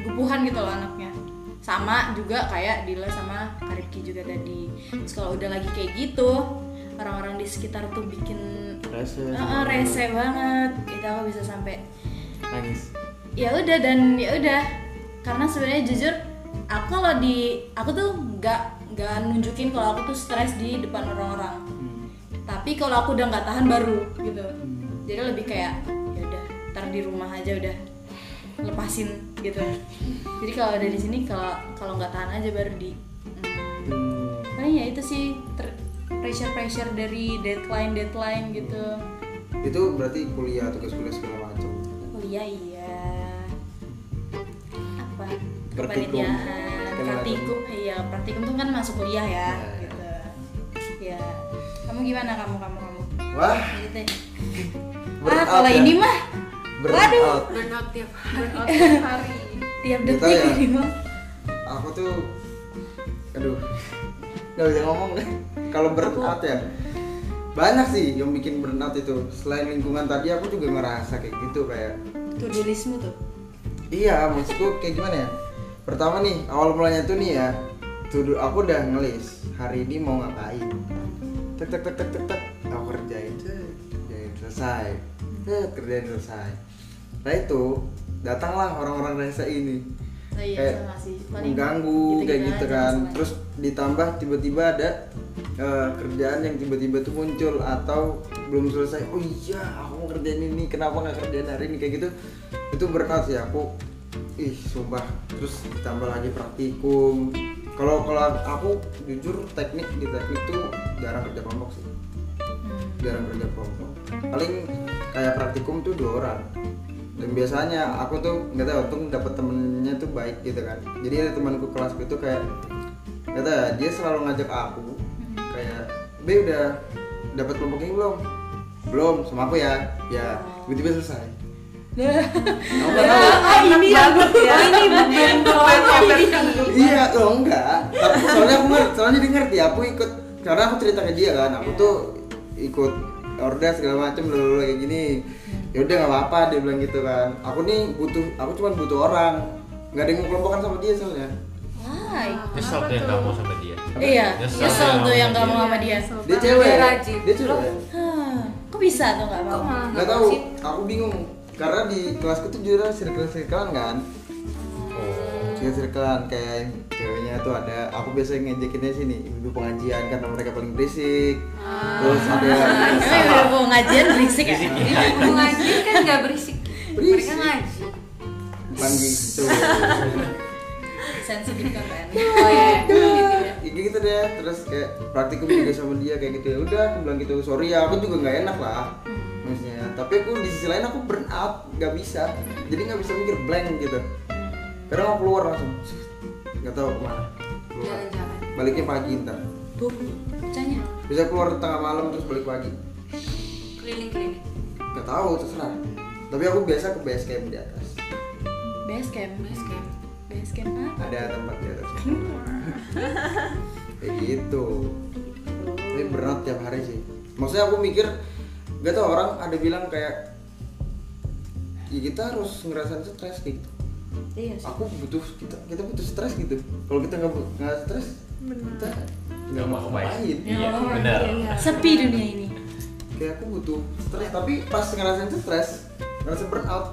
B: gupuhan gitu loh anaknya sama juga kayak Dila sama Kariki juga tadi terus kalau udah lagi kayak gitu orang-orang di sekitar tuh bikin
A: Rasa.
B: Heeh, rese banget itu aku bisa sampai
A: Nangis.
B: ya udah dan ya udah karena sebenarnya jujur aku kalau di aku tuh nggak nggak nunjukin kalau aku tuh stres di depan orang-orang tapi kalau aku udah nggak tahan baru gitu jadi lebih kayak ya udah ntar di rumah aja udah lepasin gitu jadi kalau ada di sini kalau kalau nggak tahan aja baru di hmm.
A: Hmm.
B: paling ya itu sih pressure pressure dari deadline deadline gitu
A: Itu berarti kuliah tugas kuliah segala macam.
B: kuliah iya apa
A: Praktikum.
B: kepanitiaan
A: Kepanitiaan.
B: praktikum iya praktikum tuh kan masuk kuliah ya
A: Iya.
B: gitu ya kamu gimana kamu kamu kamu
A: Wah,
B: Jadi teh, ah
A: burnout
B: kalau
A: ya.
B: ini mah waduh
A: Burnout.
D: burnout tiap hari.
E: burnout tiap hari
B: tiap
A: Nggak
B: detik
A: tahu ya.
B: ini mah
A: aku tuh aduh nggak bisa ngomong deh kalau burnout ya banyak sih yang bikin burnout itu selain lingkungan tadi aku juga ngerasa kayak gitu kayak
B: tuh delismu tuh [laughs]
A: iya maksudku kayak gimana ya pertama nih awal mulanya tuh nih ya tuh du- aku udah ngelis hari ini mau ngapain tek tek tek tek tek tek aku kerjain cet, kerjain selesai cet, kerjain selesai nah itu datanglah orang-orang rasa ini
B: oh iya
A: Kayak
B: sama sih Paling
A: mengganggu kayak gitu
B: aja
A: kan
B: masalahnya.
A: terus ditambah tiba-tiba ada eh, kerjaan yang tiba-tiba tuh muncul atau belum selesai oh iya aku mau kerjaan ini kenapa nggak kerjaan hari ini kayak gitu itu berkat sih aku ih sumpah terus ditambah lagi praktikum kalau kalau aku jujur teknik di teknik tuh jarang kerja kelompok sih
B: Hmm.
A: jarang kerja kelompok paling kayak praktikum tuh dua orang dan biasanya aku tuh nggak tahu untung dapat temennya tuh baik gitu kan jadi ada temanku kelas itu kayak nggak tahu ya, dia selalu ngajak aku kayak B udah dapat kelompoknya belum belum sama aku ya ya tiba-tiba selesai Kamu nggak tahu.
B: ah ini aku
D: ini beban kelompok.
A: iya loh enggak Tapi soalnya aku ngerti soalnya dia ngerti aku ikut karena aku cerita ke dia kan aku tuh ikut order segala macem lalu kayak gini ya udah nggak apa-apa dia bilang gitu kan aku nih butuh aku cuma butuh orang nggak ada yang mau kelompokan sama dia soalnya
B: Why?
C: Nyesel tuh yang kamu sama dia.
B: iya
C: Nyesel
B: nyesel
C: sama
B: tuh yang
C: dia.
B: kamu sama dia
A: ya? dia cewek
D: Oh, Dia rajin.
A: dia cewek
B: Hah, kok bisa tuh nggak
D: Kok
B: mau
D: malah
A: nggak tahu aku bingung karena di kelasku tuh jujur circle circlean kan
D: Hmm.
C: Oh.
A: circle circlean kayak yang ceweknya tuh ada aku biasanya ngejekinnya sini ibu pengajian karena mereka paling berisik
D: Ah.
A: terus
D: [laughs]
A: ada
B: Emang udah mau ngajian berisik
C: Iya
B: ya?
D: Ngaji kan nggak berisik.
A: Berisik.
D: Mereka ngaji.
A: bukan gitu
B: Sensitif kan?
D: Oh iya.
A: Ya gitu deh terus kayak praktikum juga sama dia kayak gitu ya udah aku bilang gitu sorry ya aku juga nggak enak lah maksudnya tapi aku di sisi lain aku burn out nggak bisa jadi nggak bisa mikir blank gitu karena mau keluar langsung nggak tahu kemana keluar
D: Jalan-jalan.
A: baliknya pagi ntar
B: Tuh, pecahnya
A: bisa keluar tengah malam terus balik pagi
D: Keliling-keliling.
A: nggak tahu terserah tapi aku biasa ke base camp di atas
B: Base camp
D: Base camp.
B: Base camp apa?
A: ada tempat di atas [laughs] kayak gitu tapi berat tiap hari sih maksudnya aku mikir gak tau orang ada bilang kayak ya kita harus ngerasain stres gitu
B: Iya sih
A: aku butuh kita kita butuh stres gitu kalau kita nggak bu- nggak stres kita nggak mau main
C: Iya,
D: Oh,
C: benar.
D: iya.
B: Sepi dunia ini.
A: kayak aku butuh stres tapi pas ngerasain stres ngerasa burnout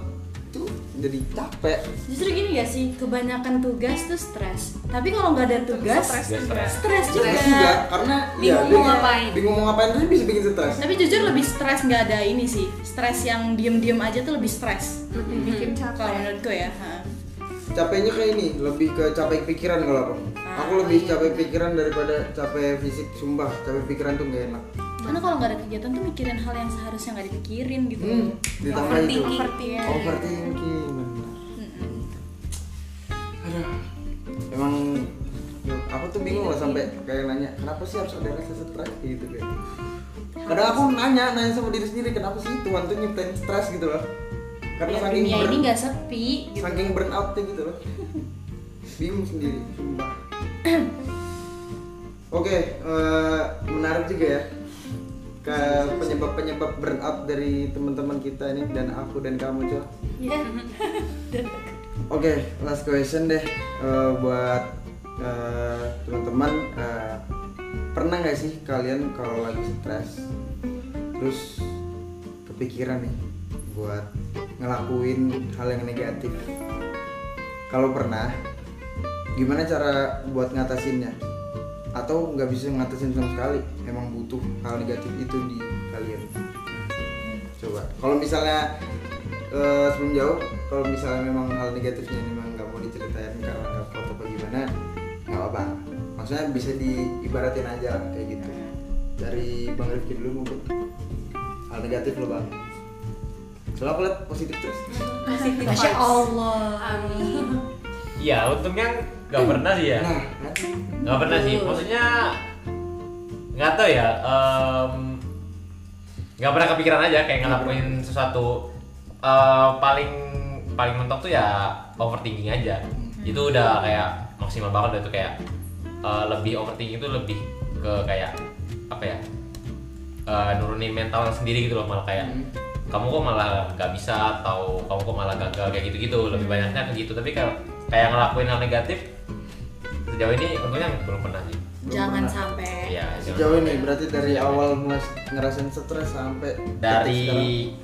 A: itu jadi capek
B: Justru gini gak sih, kebanyakan tugas tuh stres. Tapi kalau nggak ada tugas,
E: Stres.
C: Gak stres.
B: stres juga.
A: Stres juga karena ya,
D: Bingung mau ngapain.
A: bingung mau ngapain tuh bisa bikin stres
B: Tapi jujur lebih stres nggak ada ini sih. Stres yang diem-diem aja tuh lebih stres.
E: lebih bikin
A: Hmm,
B: Kalau
E: capek
B: menurutku ya. ha.
A: capeknya kayak ini lebih ke capek pikiran kalau aku
B: Ah,
A: aku lebih
B: iya.
A: capek pikiran daripada capek fisik sumpah capek pikiran tuh nggak enak
B: Karena kalau nggak ada kegiatan tuh mikirin hal yang seharusnya nggak dipikirin gitu.
A: hmm, ditambah itu
D: Overthinking.
B: Iya.
A: overthinking Oh, benar
B: Mm-mm.
A: Aduh, emang aku tuh bingung lah sampai
B: Iya.
A: kayak nanya kenapa sih harus ada rasa stres gitu kayak kadang aku nanya nanya sama diri sendiri kenapa sih Tuhan tuh nyiptain stres gitu loh karena
B: Biar
A: saking
B: Iya, dunia
A: burn,
B: ini nggak sepi. Gitu.
A: saking burn outnya gitu loh bingung sendiri sumpah [clears throat] oke eh, menarik juga ya ke penyebab penyebab burnout dari teman-teman kita ini dan aku dan kamu Cok.
B: Ya.
A: Oke, last question deh Eh, buat eh, teman-teman. eh, pernah nggak sih kalian kalau lagi stres, terus kepikiran nih buat ngelakuin hal yang negatif? Kalau pernah, gimana cara buat ngatasinnya? Atau nggak bisa ngatasin sama sekali? Emang butuh hal negatif itu di kalian? coba kalau misalnya eh, sebelum jauh kalau misalnya memang hal negatifnya memang nggak mau diceritain karena nggak foto apa gimana nggak apa, apa maksudnya bisa diibaratin aja lah kayak gitu dari bang Rifki dulu mungkin hal negatif lo bang soalnya aku liat positif terus
D: Positive
B: Masya
D: vibes.
B: Allah.
D: Amin.
C: Iya, untungnya nggak pernah sih ya.
A: nah kan?
C: Nggak pernah sih. Maksudnya nggak tahu ya. em, Nggak pernah kepikiran aja kayak ngelakuin sesuatu eh, paling paling mentok tuh ya overthinking aja.
A: Hmm.
C: Itu udah kayak maksimal banget udah tuh kayak eh, lebih overthinking itu lebih ke kayak apa ya? eh, nurunin mental sendiri gitu loh malah kayak
A: Hmm.
C: kamu kok malah nggak bisa atau kamu kok malah gagal kayak gitu-gitu
A: Hmm.
C: lebih banyaknya ke gitu tapi kayak kayak ngelakuin hal negatif sejauh ini untungnya belum pernah sih
A: Belum
B: Jangan
A: pernah.
B: sampai.
C: Iya,
A: sejauh
C: jangan-
A: ini berarti dari
C: Sejauh
A: awal mulai ngerasain stres sampai
C: dari
A: detik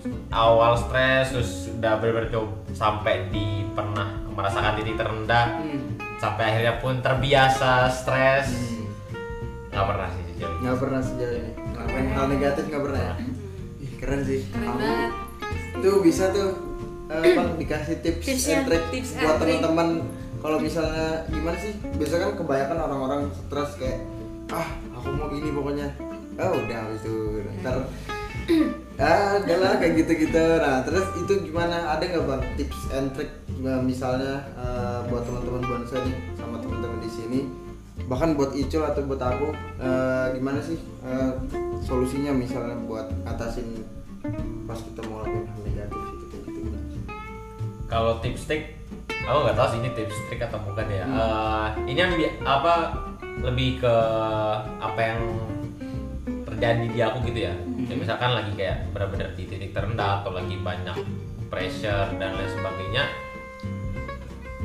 A: sekarang.
C: awal stres terus udah benar sampai di pernah merasakan titik terendah
A: Hmm.
C: sampai akhirnya pun terbiasa stres
A: Hmm.
C: nggak pernah sih sejauh ini
A: nggak pernah sejauh ini ngelakuin hal negatif nggak pernah ya Ih, keren sih
D: Keren
A: Aku-
D: banget.
A: tuh bisa tuh eh, bang dikasih tips
D: Tipsnya,
A: and trick
D: tips and
A: buat
D: trick.
A: teman-teman kalau misalnya gimana sih biasa kan kebanyakan orang-orang stres kayak ah aku mau gini pokoknya oh udah habis itu ntar [clears throat] ah udahlah kayak gitu-gitu nah terus itu gimana ada nggak bang tips and trick eh, misalnya eh, buat teman-teman bonsai nih sama teman-teman di sini bahkan buat Icul atau buat aku eh, gimana sih eh, solusinya misalnya buat atasin pas kita mau lakuin hal negatif itu kayak gitu gimana sih?
C: kalau tips trik aku nggak tahu sih ini tips trik atau bukan ya Eh, ini yang bi- apa lebih ke apa yang terjadi di aku gitu ya Ya, misalkan lagi kayak benar-benar di titik terendah atau lagi banyak pressure dan lain sebagainya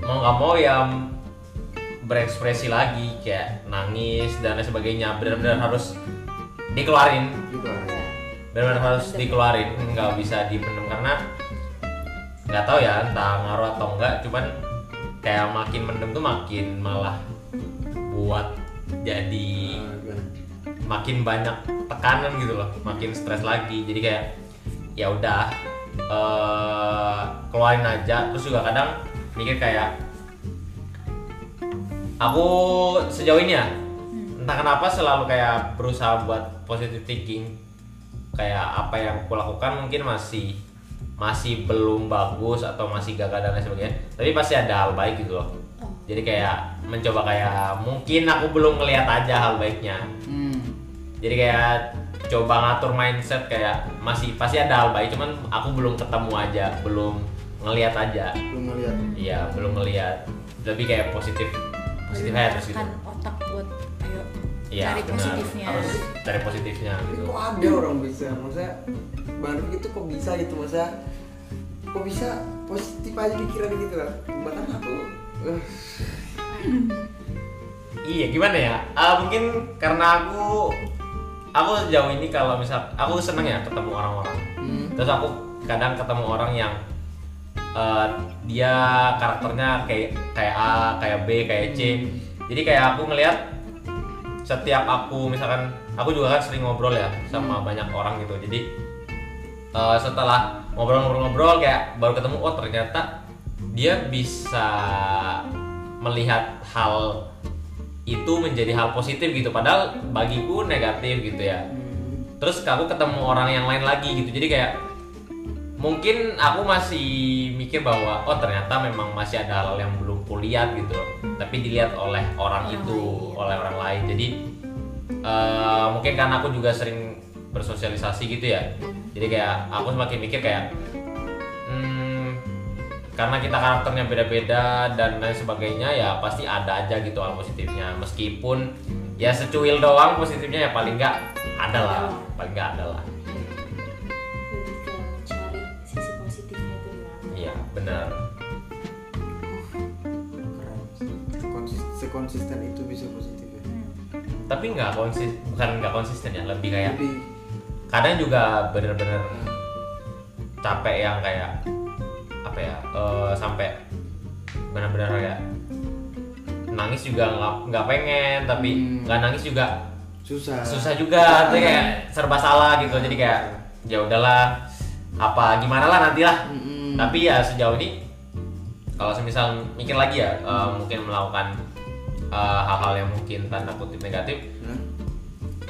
C: mau nggak mau ya berekspresi lagi kayak nangis dan lain sebagainya benar-benar harus dikeluarin
A: Gitu lah ya.
C: benar-benar harus dikeluarin nggak bisa dipendam karena nggak tahu ya entah ngaruh atau enggak cuman kayak makin mendem tuh makin malah buat jadi
A: Eh, gimana?
C: makin banyak tekanan gitu loh makin stres lagi jadi kayak ya udah eh, keluarin aja terus juga kadang mikir kayak aku sejauh ini ya entah kenapa selalu kayak berusaha buat positive thinking kayak apa yang aku lakukan mungkin masih masih belum bagus atau masih gagal dan lain sebagainya tapi pasti ada hal baik gitu loh jadi kayak mencoba kayak mungkin aku belum ngelihat aja hal baiknya
A: Hmm.
C: jadi kayak coba ngatur mindset kayak masih pasti ada hal baik cuman aku belum ketemu aja belum ngelihat aja
A: belum melihat
C: iya belum ngelihat lebih kayak positif positif aja terus gitu
B: Kan otak buat ayo
C: iya
B: cari
C: benar.
B: positifnya.
C: harus cari positifnya
A: Tapi
C: gitu
A: kok ada orang bisa? Maksudnya baru gitu kok bisa gitu maksudnya kok bisa positif aja pikiran gitu lah. Bahkan aku eh,
C: iya gimana ya Ah, mungkin karena aku aku sejauh ini kalau misal aku seneng ya ketemu orang-orang
A: Hmm.
C: terus aku kadang ketemu orang yang eh, dia karakternya kayak kayak A kayak B kayak C jadi kayak aku ngelihat setiap aku misalkan aku juga kan sering ngobrol ya sama banyak orang gitu jadi eh, setelah ngobrol-ngobrol-ngobrol kayak baru ketemu oh ternyata dia bisa melihat hal itu menjadi hal positif gitu padahal bagiku negatif gitu ya
A: Hmm,
C: terus aku ketemu orang yang lain lagi gitu jadi kayak mungkin aku masih mikir bahwa oh ternyata memang masih ada hal yang belum kulihat gitu loh tapi dilihat oleh orang itu oleh orang lain iya. jadi eh, mungkin karena aku juga sering bersosialisasi gitu ya jadi kayak aku semakin mikir kayak hmm, karena kita karakternya beda-beda dan lain sebagainya ya pasti ada aja gitu hal positifnya meskipun ya secuil doang positifnya ya paling nggak ada lah paling nggak ada lah
B: lebih ke cari sisi positifnya itu di mana.
C: iya benar
A: Keren. Konsis- sekonsisten itu bisa positif ya.
C: tapi nggak konsis bukan nggak konsisten ya lebih kayak
A: Tapi
C: kadang juga bener-bener capek yang kayak apa ya eh, sampai benar-benar kayak nangis juga nggak nggak pengen tapi
A: Hmm.
C: nggak nangis juga
A: susah.
C: susah juga tuh kayak serba salah gitu jadi kayak ya udahlah apa gimana lah nantilah
A: Mm-mm.
C: tapi ya sejauh ini kalau semisal mikir lagi ya eh, mungkin melakukan eh, hal-hal yang mungkin tanda kutip negatif
A: Hah?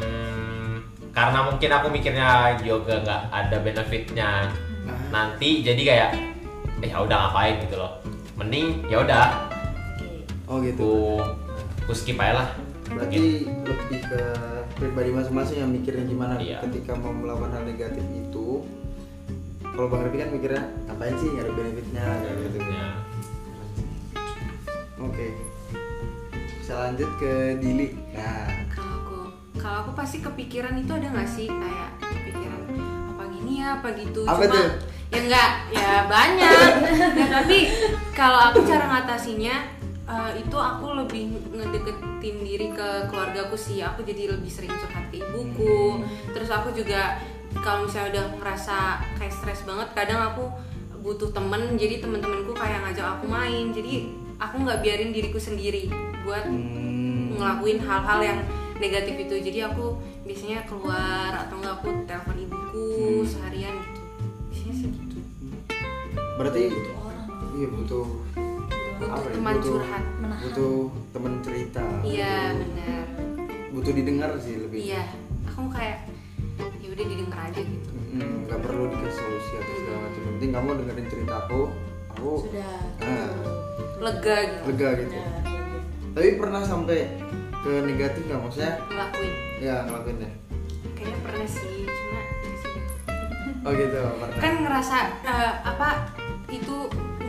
C: Hmm, karena mungkin aku mikirnya yoga nggak ada benefitnya
A: Nah.
C: nanti jadi kayak eh ya udah ngapain gitu loh mending ya udah
B: Oke.
A: Oh gitu.
C: aku aku skip aja lah Gitu.
A: Berarti lebih ke pribadi masing-masing yang mikirnya gimana
C: Iya.
A: ketika mau melakukan hal negatif itu. Kalau Bang Revi kan mikirnya ngapain sih nggak ada benefitnya kayak gitu.
C: Ya.
A: Oke. Bisa lanjut ke Dili. Nah,
D: kalau aku kalau aku pasti kepikiran itu ada nggak sih kayak kepikiran apa gini ya apa gitu
A: Apa
D: cuma
A: tuh?
D: ya nggak ya
A: [laughs]
D: banyak Ya, tapi kalau aku cara ngatasinnya eh, itu aku lebih ngedeketin diri ke keluargaku sih aku jadi lebih sering curhat ke
A: Hmm.
D: ibuku terus aku juga kalau misalnya udah ngerasa kayak stres banget kadang aku butuh temen jadi temen-temenku kayak ngajak aku main jadi aku nggak biarin diriku sendiri buat
A: hmm,
D: ngelakuin hal-hal yang negatif itu jadi aku biasanya keluar atau nggak aku telepon ibuku seharian gitu biasanya sih gitu
A: berarti
B: Orang
A: iya butuh
D: butuh
A: ya,
D: teman curhat
B: menahan.
A: Butuh teman cerita.
D: iya
A: butuh-
D: benar
A: Butuh didengar sih lebih.
D: iya aku kayak ya udah didengar aja gitu
A: Mm, nggak perlu dikasih solusi atau segala macam yang penting kamu dengerin cerita aku aku
B: sudah.
A: ah,
D: lega gitu
A: lega gitu
E: Iya.
B: Sudah.
A: tapi pernah sampai ke negatif nggak maksudnya
D: ngelakuin
A: ya ngelakuin ya
D: kayaknya pernah sih cuma ya sudah.
A: oh gitu pernah
D: kan ngerasa eh, apa itu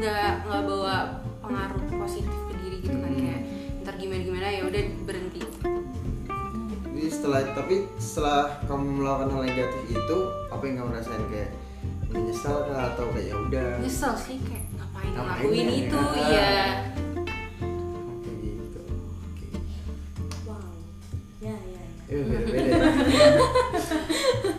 D: nggak nggak bawa pengaruh positif ke diri gitu kan kayak ntar gimana gimana ya udah berhenti
A: jadi setelah tapi setelah kamu melakukan hal negatif itu apa yang kamu rasain kayak menyesal kah atau kayak ya udah
D: nyesel sih kayak ngapain
A: Ngapain
D: ngelakuin
A: ya?
D: itu
A: Ah.
D: iya
A: Oke, gitu Oke.
B: Wow. Ya, ya. [laughs] ya.
A: Eh, beda-beda ya.
E: [laughs]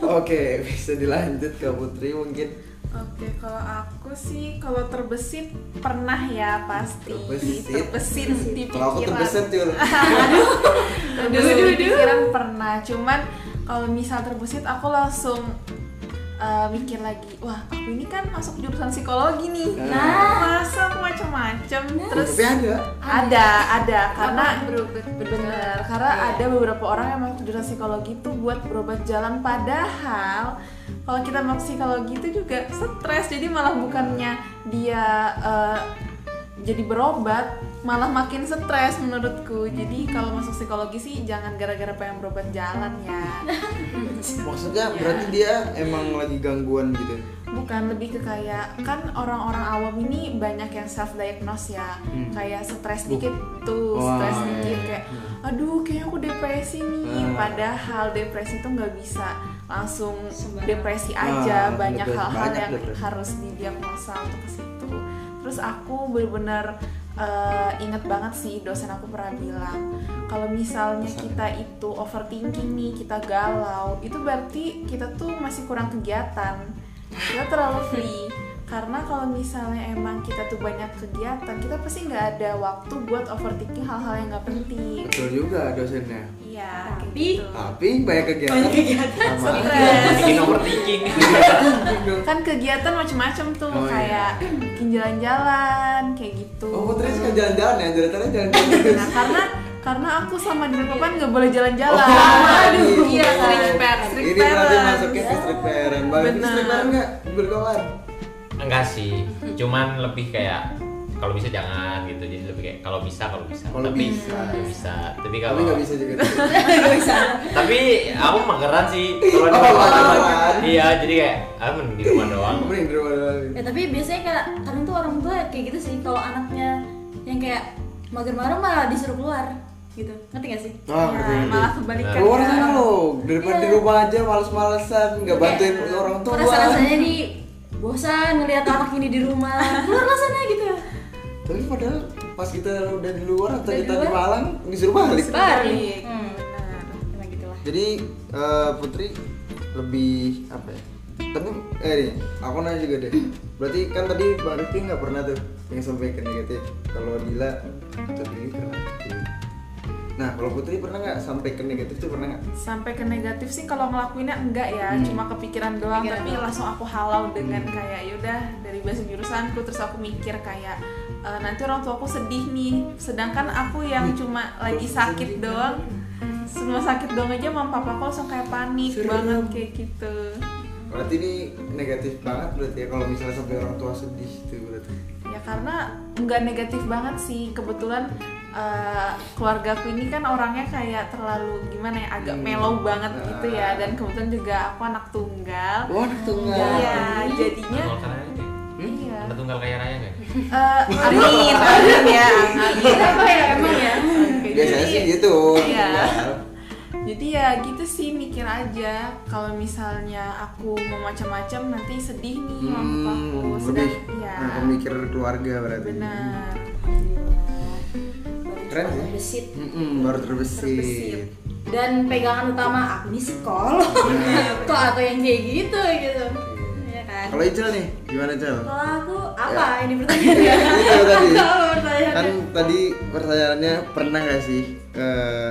A: Oke, bisa dilanjut ke Putri mungkin.
E: Oke, kalau aku sih kalau terbesit pernah ya pasti.
A: Terbesit.
E: terbesit di pikiran.
A: Kalau aku ya, terbeset yuk.
E: Terbesit di pikiran pernah. Cuman kalau misal terbesit aku langsung eh, mikir lagi, wah aku ini kan masuk jurusan psikologi nih.
A: Nah.
E: masa aku macam-macam. [laughs] Terus
A: Tapi ada.
E: ada, ada karena
D: berobat
E: Bener, karena
A: Iya.
E: ada beberapa orang yang emang jurusan psikologi itu buat berobat jalan Padahal kalau kita mau psikologi itu juga stres Jadi malah bukannya dia eh, jadi berobat Malah makin stres menurutku Jadi kalau masuk psikologi sih jangan gara-gara pengen berobat jalan ya
A: Maksudnya
E: Iya.
A: berarti dia emang lagi gangguan gitu.
E: bukan lebih ke kayak kan orang-orang awam ini banyak yang self diagnose ya
A: Hmm.
E: kayak stres dikit tuh
A: Wah,
E: stres
A: iya,
E: dikit
A: iya.
E: kayak aduh kayaknya aku depresi nih
A: Ah.
E: padahal depresi tuh nggak bisa langsung
B: Sembarang.
E: depresi
A: Ah,
E: aja banyak
A: depresi-
E: hal-hal
A: banyak
E: yang
A: depresi.
E: harus didiagnosa untuk ke situ terus aku bener-bener eh, inget banget sih dosen aku pernah bilang kalau misalnya kita itu overthinking nih kita galau itu berarti kita tuh masih kurang kegiatan kita terlalu free karena kalau misalnya emang kita tuh banyak kegiatan kita pasti nggak ada waktu buat overthinking hal-hal yang nggak penting
A: betul juga dosennya
E: iya kayak
F: Tapi-
E: gitu.
A: tapi banyak kegiatan banyak kegiatan
C: bikin overthinking [laughs]
E: kan kegiatan macam-macam tuh
A: Oh, iya.
E: kayak [clears throat] bikin jalan-jalan kayak gitu
A: oh putri suka jalan-jalan ya jalan-jalan
E: Nah,
A: jalan-jalan
E: karena karena aku sama di depan nggak boleh jalan-jalan
A: Waduh,
D: iya, street fair,
A: Oh, Ini
D: street
A: berarti
D: fairan.
A: masuknya
E: Iya,
A: ke street fairan. Bang, ini street fairan nggak berkawan?
C: enggak sih cuman lebih kayak kalau bisa jangan gitu jadi lebih kayak kalau bisa kalau bisa
A: Kalau
C: tapi
A: bisa.
C: kalau bisa tapi kalau
A: Tapi nggak bisa juga.
C: tapi aku mageran sih kalau di
A: Oh,
C: rumah
A: mageran.
C: iya jadi kayak aku mending di rumah doang
A: Kamu yang di rumah doang.
B: Ya tapi biasanya kayak kadang tuh orang tua kayak gitu sih kalau anaknya yang kayak mager-mager malah disuruh keluar gitu. Ngerti gak sih?
A: Ah, ngerti,
E: Ya,
A: ngerti.
E: malah kebalikan
A: Keluar
E: ya.
A: sana lo, daripada di
B: Iya.
A: rumah aja males-malesan, nggak bantuin orang tua.
B: Rasa-rasanya nih bosan ngelihat anak ini di
A: [laughs]
B: rumah. Keluarlah sana gitu.
A: Tapi padahal pas kita udah di luar atau
B: Udah di
A: kita di
B: luar.
A: Malang disuruh balik.
B: Balik. Hmm. Gitu Emang gitulah.
A: Jadi eh, Putri lebih apa ya? Tapi eh nih, aku nanya juga deh. Berarti kan tadi Bang Rifki nggak pernah tuh yang sampai ke negatif. Kalau Dila tadi pernah. Nah, kalau Putri pernah nggak sampai ke negatif tuh pernah nggak?
E: sampai ke negatif sih kalau ngelakuinnya enggak ya
A: Hmm.
E: cuma kepikiran doang
B: Kepikiran
E: tapi
B: doang.
E: langsung aku halau dengan kayak yaudah dari bahasa jurusanku terus aku mikir kayak e, nanti orang tuaku sedih nih sedangkan aku yang cuma lagi sakit doang semua sakit doang aja mama papaku langsung kayak panik
A: Serem.
E: banget kayak gitu
A: Berarti ini negatif banget berarti ya kalau misalnya sampai orang tua sedih itu berarti.
E: ya karena nggak negatif banget sih kebetulan eh, keluarga keluargaku ini kan orangnya kayak terlalu gimana ya agak
A: Hmm.
E: mellow banget gitu
A: Ah.
E: ya dan kebetulan juga aku anak tunggal
A: Wah, Hmm? tunggal.
E: Ah, Iya,
C: Anak
E: jadinya
C: tunggal kaya raya nggak?
E: iya.
C: Anak tunggal kaya raya nggak?
E: Eh, amin, amin ya. Amin.
D: Apa ya emang ya?
E: Oke,
A: Biasanya
E: jadi-
A: sih gitu.
E: Iya.
A: tunggal.
E: Jadi ya gitu sih mikir aja kalau misalnya aku mau macam-macam nanti sedih nih
A: Hmm,
E: mama aku
A: lebih
E: sedih ya.
A: nah, pemikir keluarga berarti.
E: Benar.
B: Baru
A: Keren sih.
B: terbesit.
A: Mm-mm, baru terbesit. Iya.
E: Terbesit.
B: Dan pegangan utama aku nih psikolog. [laughs] Kok aku yang kayak gitu gitu. Iya kan?
A: Kalau Ijel nih, gimana Ijel?
B: Kalau aku apa
A: Ya.
B: ini pertanyaannya?
A: Itu
B: [laughs]
A: tadi.
B: Apa pertanyaannya?
A: Kan tadi pertanyaannya pernah nggak sih eh,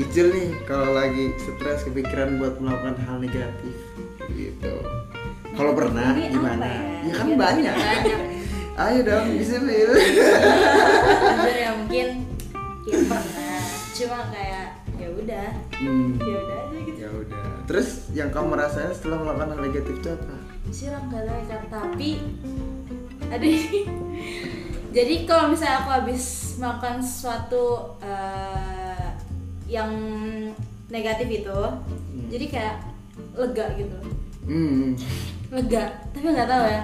A: Ijel nih kalau lagi stres kepikiran buat melakukan hal negatif gitu. Kalau pernah
B: Ini apa
A: gimana?
B: ya?
A: Ya kan
B: Iya,
A: banyak. Ayo dong, bisa Bil.
B: Jujur ya mungkin ya pernah. Cuma kayak ya udah,
A: Hmm,
B: [laughs] ya udah aja gitu.
A: Ya udah. Terus yang kamu rasain setelah melakukan hal negatif itu apa?
B: siram galau ikan tapi ada ini [laughs] jadi kalau misalnya aku habis makan sesuatu eh, yang negatif itu jadi kayak lega gitu
A: Hmm.
B: lega tapi nggak tahu ya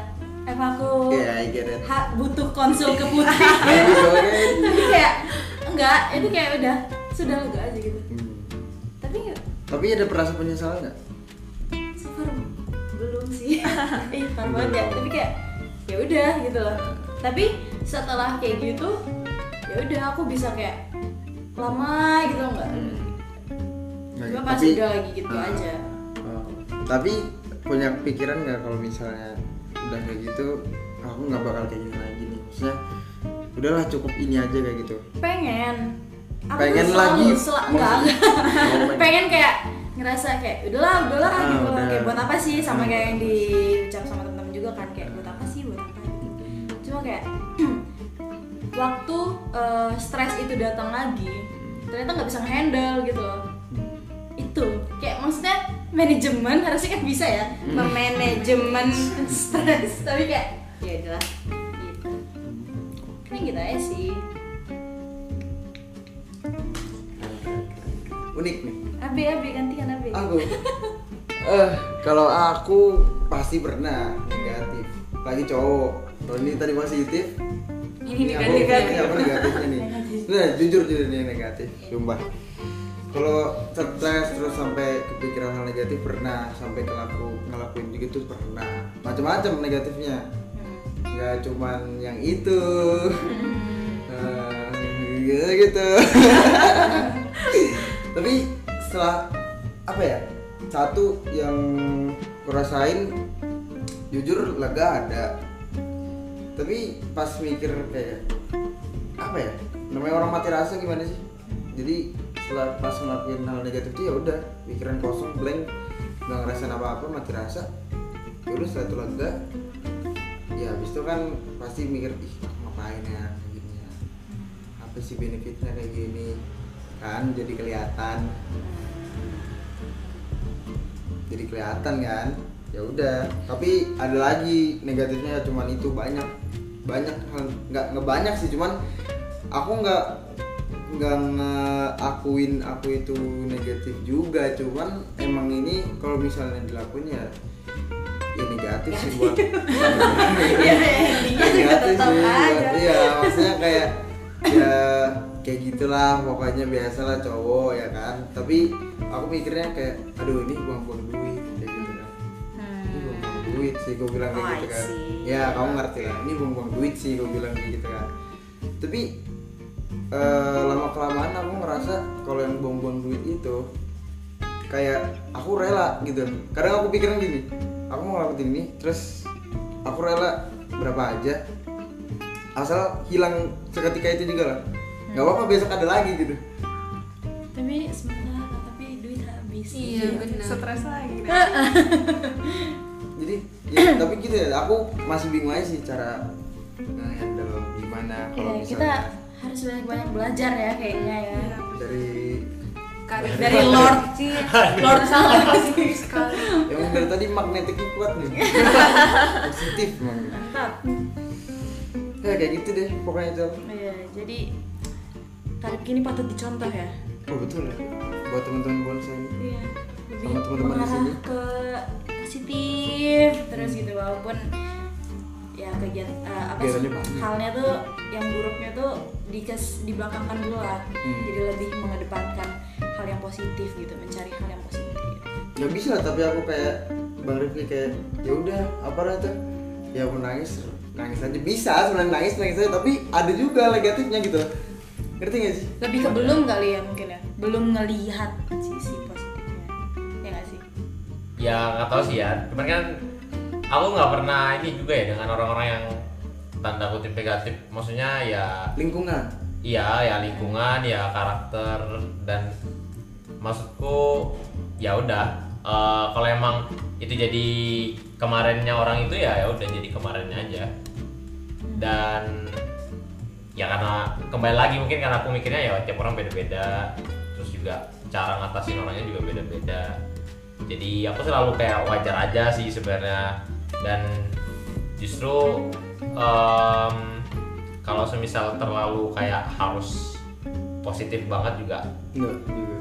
B: apa aku
A: Yeah, I get it.
B: ha- butuh konsul ke putih [laughs]
A: Maybe so, okay.
B: tapi kayak enggak itu kayak udah sudah lega aja gitu
A: Hmm.
B: tapi ya,
A: Tapi ada perasa penyesalan nggak?
B: so far belum
A: [laughs]
B: sih ih far banget ya tapi kayak ya udah gitu loh tapi setelah kayak gitu ya udah aku bisa kayak lama gitu enggak
A: Nggak,
B: cuma
A: Hmm. Nah, tapi-
B: pas udah lagi gitu
A: Ah.
B: aja
A: Oh. Tapi punya pikiran nggak kalau misalnya udah kayak gitu, aku nggak bakal kayak gini lagi nih. Maksudnya udahlah cukup ini aja kayak gitu.
B: pengen aku
A: Pengen
B: selalu-
A: lagi?
B: sel-
A: Oh,
B: enggak enggak. [laughs]
A: oh, pengen.
B: pengen kayak ngerasa kayak udahlah udahlah
A: Ah,
B: gitu loh
A: udah.
B: kayak buat apa sih sama
A: Ah,
B: kayak yang
A: buat
B: diucap sama teman-teman juga kan kayak buat apa sih buat apa gitu cuma kayak [clears throat] waktu eh, stres itu datang lagi ternyata nggak bisa handle gitu loh
A: Hmm.
B: itu kayak maksudnya manajemen harusnya kan bisa ya
A: Hmm.
B: memanajemen [laughs] stres tapi kayak ya udahlah gitu kayak gitu aja sih
A: Unik nih.
B: abe abe gantian abe [laughs]
A: Aku. Eh, kalau aku pasti pernah negatif. Lagi cowok. Kalau ini tadi positif.
D: Ini
A: aku-
D: negatif. ya.
A: iya, ini aku negatifnya nih. Nah, jujur jujur ini negatif. Sumpah. Kalau stres terus sampai kepikiran hal negatif pernah sampai ngelaku ngelakuin gitu pernah. Macam-macam negatifnya.
B: Hmm.
D: Hmm.
A: nggak cuman yang itu gitu
D: [laughs]
A: gitu tapi setelah apa ya satu yang kurasain jujur lega ada tapi pas mikir kayak apa ya namanya orang mati rasa gimana sih jadi setelah pas ngelakuin hal negatif tuh ya udah pikiran kosong blank nggak ngerasain apa apa mati rasa ya udah setelah itu lega ya habis itu kan pasti mikir ih ngapain ya kayak gini ya apa sih benefitnya kayak gini kan jadi kelihatan jadi kelihatan kan ya udah tapi ada lagi negatifnya cuman itu banyak banyak hal- nggak nggak banyak sih cuman aku nggak nggak ngakuin aku itu negatif juga cuman emang ini kalau misalnya dilakuin ya ya negatif sih buat
B: Iya, intinya juga
A: negatif
B: tetap
A: sih
B: aja.
A: buat- iya maksudnya kayak ya kayak gitulah pokoknya biasalah cowok ya kan tapi aku mikirnya kayak aduh ini buang-buang duit kayak gitu kan ini buang-buang duit sih gue bilang kayak
B: Nah. Oh,
A: gitu
B: I
A: kan
B: see.
A: ya kamu ngerti lah ini buang-buang duit sih gue bilang kayak gitu kan tapi eh, lama kelamaan aku ngerasa kalau yang buang-buang duit itu kayak aku rela gitu kadang aku pikiran gini aku mau ngelakuin ini terus aku rela berapa aja asal hilang seketika itu juga lah nggak apa-apa besok ada lagi gitu
B: Tapi sebentar, tapi duit habis.
D: Iya benar.
E: Stres lagi.
A: jadi ya, [clears throat] tapi gitu ya aku masih bingung aja sih cara handle gimana
B: Iya,
A: kalau
B: kita
A: misalnya
B: harus banyak-banyak belajar ya kayaknya ya.
A: Iya. dari
D: Karir
B: Dari
E: Eh,
B: Lord sih,
A: [laughs]
B: Lord salah
D: positif sekali.
B: [clears throat]
A: yang dari tadi magnetiknya kuat
B: [laughs]
A: nih positif emang.
B: Mantap.
A: ya kayak gitu deh pokoknya Jal.
B: Iya, jadi karib ini patut dicontoh ya.
A: oh betul ya buat teman-teman bonsai ini
B: Iya. Lebih
A: Sama teman-teman di
B: mengarah
A: sini.
B: ke positif terus gitu walaupun ya kegiatan eh, apa sih
A: Kegiatannya banyak.
B: halnya tuh yang buruknya tuh dikes dibelakangkan dulu lah.
A: Hmm.
B: Jadi lebih mengedepankan hal yang positif gitu, mencari hal yang positif.
A: nggak bisa lah tapi aku kayak bang Rifki kayak ya udah apa lah tuh ya mau nangis nangis aja bisa sebenarnya nangis nangis aja tapi ada juga negatifnya gitu ngerti gak sih
B: Lebih ke belum kali ya mungkin ya. Belum ngelihat sisi positifnya. Ya nggak sih?
C: ya nggak tahu sih ya cuman kan aku nggak pernah ini juga ya dengan orang-orang yang tanda kutip negatif maksudnya ya
A: lingkungan
C: Iya, ya lingkungan, ya karakter dan maksudku ya udah eh, kalau emang itu jadi kemarinnya orang itu ya ya udah jadi kemarinnya aja. Dan ya karena kembali lagi mungkin karena aku mikirnya ya tiap orang beda-beda terus juga cara ngatasin orangnya juga beda-beda jadi aku selalu kayak wajar aja sih sebenarnya dan justru em, kalau semisal terlalu kayak harus positif banget juga
A: enggak juga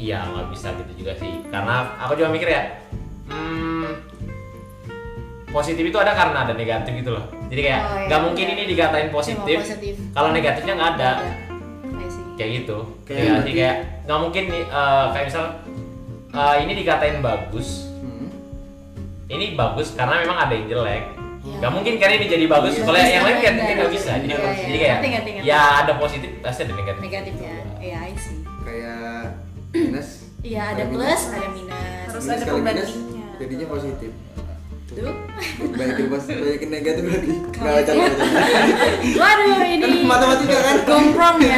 C: iya nggak bisa gitu juga sih karena aku juga mikir ya hmm, positif itu ada karena ada negatif gitu loh jadi kayak
B: Oh, iya,
C: nggak mungkin
B: iya.
C: ini dikatain positif,
B: Cuma positif. Iya.
C: kalau negatifnya nggak ada
B: I see.
C: kayak gitu
A: Kayak
C: kayak
A: berarti-
C: kayak nggak mungkin nih, eh, kayak misal eh, ini dikatain bagus
A: Hmm.
C: ini bagus karena memang ada yang jelek
B: Iya.
C: nggak mungkin kan ini jadi bagus
B: Iya.
C: kalau yang lain kan
B: Iya,
C: mungkin nggak
B: iya,
C: bisa jadi
B: iya,
C: bagus.
B: iya.
C: jadi kayak
B: Ngerti, ngerti, ngerti.
C: ya ada positif pasti ada negatif
B: Negatifnya. Iya, I see.
A: kayak minus
B: Iya, ada
A: Kayak
B: plus,
A: minus.
B: ada minus.
E: Harus
A: Minus
E: ada
A: kali minus,
E: pembandingnya.
A: jadinya positif
B: Tuh.
A: balikin positif balikin negatif lagi nggak
B: Kalau
A: baca
B: itu- Waduh,
A: kan
B: ini
A: matematika kan
B: komprom ya.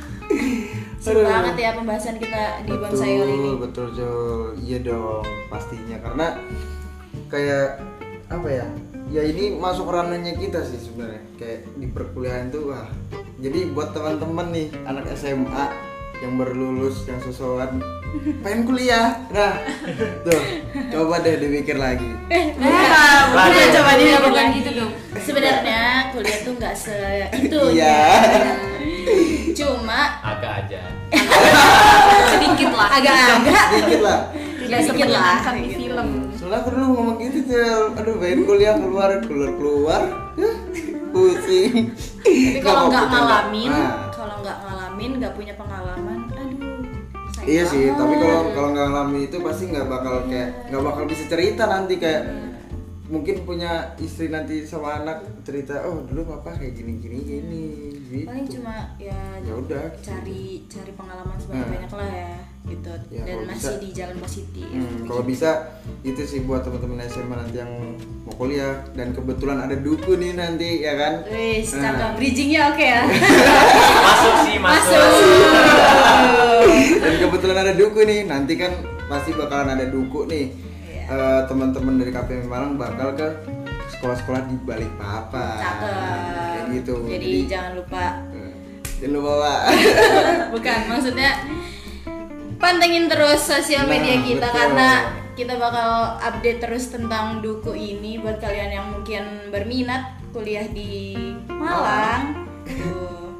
A: [laughs]
B: Seru
A: Aduh.
B: banget ya pembahasan kita di bonsai kali ini.
A: Betul, betul Jol. Iya dong, pastinya karena kayak apa ya? Ya ini masuk ranahnya kita sih sebenarnya. Kayak di perkuliahan tuh wah. Jadi buat teman-teman nih anak SMA yang baru lulus yang sosokan pengen kuliah. Nah, tuh coba deh dipikir lagi.
B: Nah,
C: Waduh.
B: coba dia
D: Bukan gitu dong.
B: Sebenarnya kuliah tuh nggak se itu ya.
A: Iya.
B: Cuma
C: agak aja
D: Sedikit lah.
B: agak-agak
A: Dikit lah.
B: tidak sedikit lah.
E: Kan di film.
A: Soalnya aku dulu ngomong gitu Jol. Aduh, pengen kuliah keluar keluar keluar. Hah, Pusing.
B: Tapi kalau nggak
A: apa-apa,
B: ngalamin,
A: Nah.
B: kalau nggak ngalamin, nggak punya pengalaman, aduh. sayang
A: Iya sih,
B: banget. Hmm.
A: tapi kalau kalau nggak ngalamin itu pasti nggak bakal kayak nggak bakal bisa cerita nanti kayak mungkin punya istri nanti sama anak cerita oh dulu papa kayak gini gini gini gitu.
B: paling cuma ya
A: Ya udah. Nah.
B: cari cari pengalaman sebanyak banyak lah ya gitu
A: Ya,
B: dan
A: kalau
B: masih
A: bisa.
B: di jalan positif
A: Hmm, kalau bisa itu sih buat teman-teman SMA nanti yang mau kuliah dan kebetulan ada duku nih nanti ya kan
B: Wis,
A: Nah.
B: cakep. Bridgingnya oke ya.
C: masuk sih masuk,
A: dan kebetulan ada duku nih nanti kan pasti bakalan ada duku nih
B: Iya.
A: Eh, teman-teman dari KPM Malang bakal ke sekolah-sekolah di balik papa
B: Cakep.
A: kayak gitu
B: Jadi Iya, jangan lupa.
A: eh, jangan lupa Pak.
B: [laughs] Bukan, maksudnya pantengin terus sosial
A: Nah,
B: media kita
A: betul.
B: karena kita bakal update terus tentang duku ini buat kalian yang mungkin berminat kuliah di Malang. Tuh.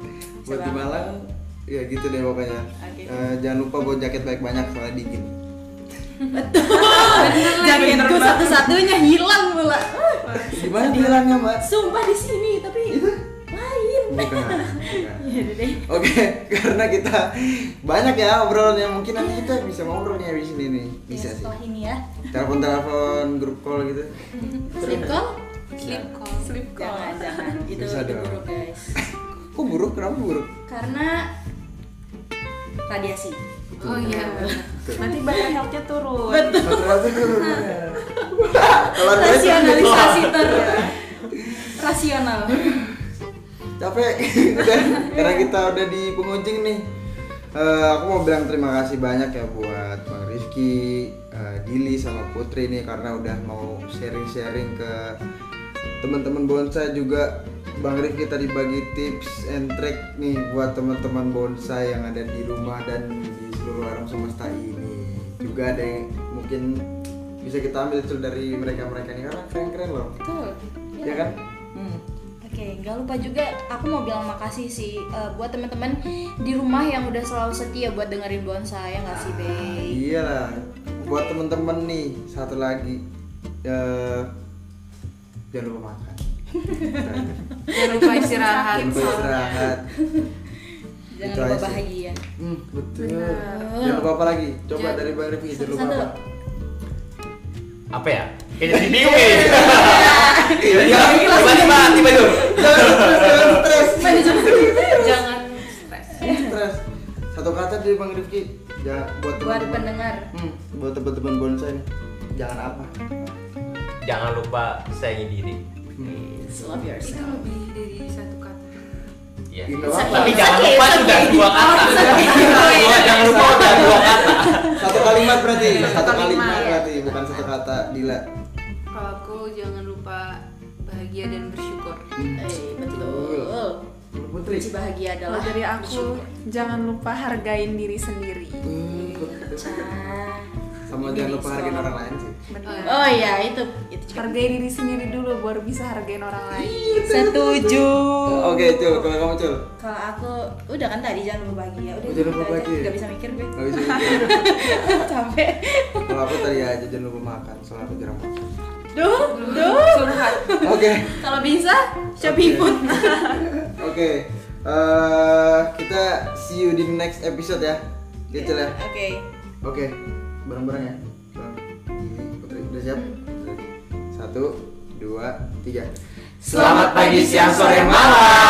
A: buat
B: Coba.
A: di
B: [laughs]
A: Malang ya gitu deh pokoknya
B: Oke.
A: Eh, jangan lupa bawa jaket banyak-banyak soalnya dingin
B: Jaketku satu-satunya hilang pula. Ah,
A: gimana bilangnya mbak
B: Sumpah di sini tapi
A: Itu?
B: lain.
A: Iya. bukan,
B: [laughs]
A: bukan.
B: Yaudah deh.
A: Oke, [laughs] karena kita banyak ya obrolannya mungkin nanti kita bisa ngobrol nih di sini nih. Bisa
B: Ya,
A: sih.
B: Setelah ini ya.
A: Telepon-telepon grup call gitu.
B: Sleep call?
D: Sleep call.
F: Sleep
B: Jangan,
F: call.
B: jangan. Itu
A: Bisa
B: itu
A: dong.
B: buruk, guys.
A: Kok buruk? Kenapa buruk?
B: Karena radiasi.
D: Oh iya benar.
E: Nanti badan healthnya turun.
A: Rata-rata buruk. Keluar dari
B: Rasionalisasi
A: Iya.
B: ter rasional.
A: capek [laughs] Udah, karena kita udah di pengunjung nih Eh, aku mau bilang terima kasih banyak ya buat Bang Rifki, eh, Dili sama Putri nih karena udah mau sharing-sharing ke teman-teman bonsai juga Bang Rifki tadi bagi tips and trick nih buat teman-teman bonsai yang ada di rumah dan di seluruh alam semesta ini juga ada yang mungkin bisa kita ambil tuh dari mereka-mereka nih karena keren-keren loh
B: Betul.
A: ya kan Hmm.
B: Oke, nggak lupa juga aku mau bilang makasih sih eh, buat teman-teman di rumah yang udah selalu setia buat dengerin bonsai ya nggak sih, Be?
A: Iya, Iyalah, buat temen-temen nih satu lagi eh, jangan lupa makan,
D: Jangan lupa istirahat.
A: jangan lupa istirahat.
B: Jangan
A: Itu
B: lupa
A: aja sih.
B: bahagia.
A: Hmm, betul. Jangan lupa apa lagi? Coba dari Bang Rifki, jangan lupa
B: Satu-satu.
A: apa?
C: apa ya kayak jadi bingung
B: Iya.
C: ya tiba-tiba tiba dulu
A: Jangan stres, jangan stres.
D: Jangan stres.
A: Jangan stres. Satu kata dari Bang Rifki, ya buat
B: Buat
A: teman-teman.
B: pendengar.
A: Hmm, buat teman-teman bonsai nih, jangan apa?
C: jangan lupa sayangi diri
A: Hmm.
B: Love
D: Itu
B: yourself.
D: lebih dari satu kata.
C: Iya.
A: Gitu
C: tapi
A: apa?
C: jangan lupa sudah dua kata
B: Oh,
C: Iya, jangan lupa udah dua kata
A: Satu kalimat berarti, satu kalimat
F: kalimat, ya.
A: berarti, bukan satu kata. Dila.
D: Kalau aku jangan lupa bahagia dan bersyukur.
B: Eh, betul.
A: Iya, Putri.
B: Kunci bahagia
E: Kalau
B: adalah
E: dari aku jangan lupa hargain diri sendiri.
A: Hmm,
B: Ah.
A: sama jangan lupa hargain orang lain sih
E: Benar.
B: Oh iya, itu itu juga.
E: Hargai diri sendiri dulu baru bisa hargain orang lain.
B: Setuju.
C: Oh.
A: oke cul kalau kamu cul
B: Kalau aku udah kan tadi jangan lupa bahagia. Udah
A: Jangan lupa bahagia.
B: Gak bisa mikir gue.
A: nggak bisa mikir
B: [laughs] Capek.
A: kalau aku tadi aja jangan lupa makan soalnya aku jarang makan
B: Duh, duh.
A: oke
B: Kalau bisa Shopee Food.
A: [laughs] oke Eh, kita see you di next episode ya ya cul ya
B: Oke.
A: oke bareng-bareng ya Bareng. Ini, putri udah siap satu dua tiga
C: selamat pagi siang sore malam
A: Ah. ya?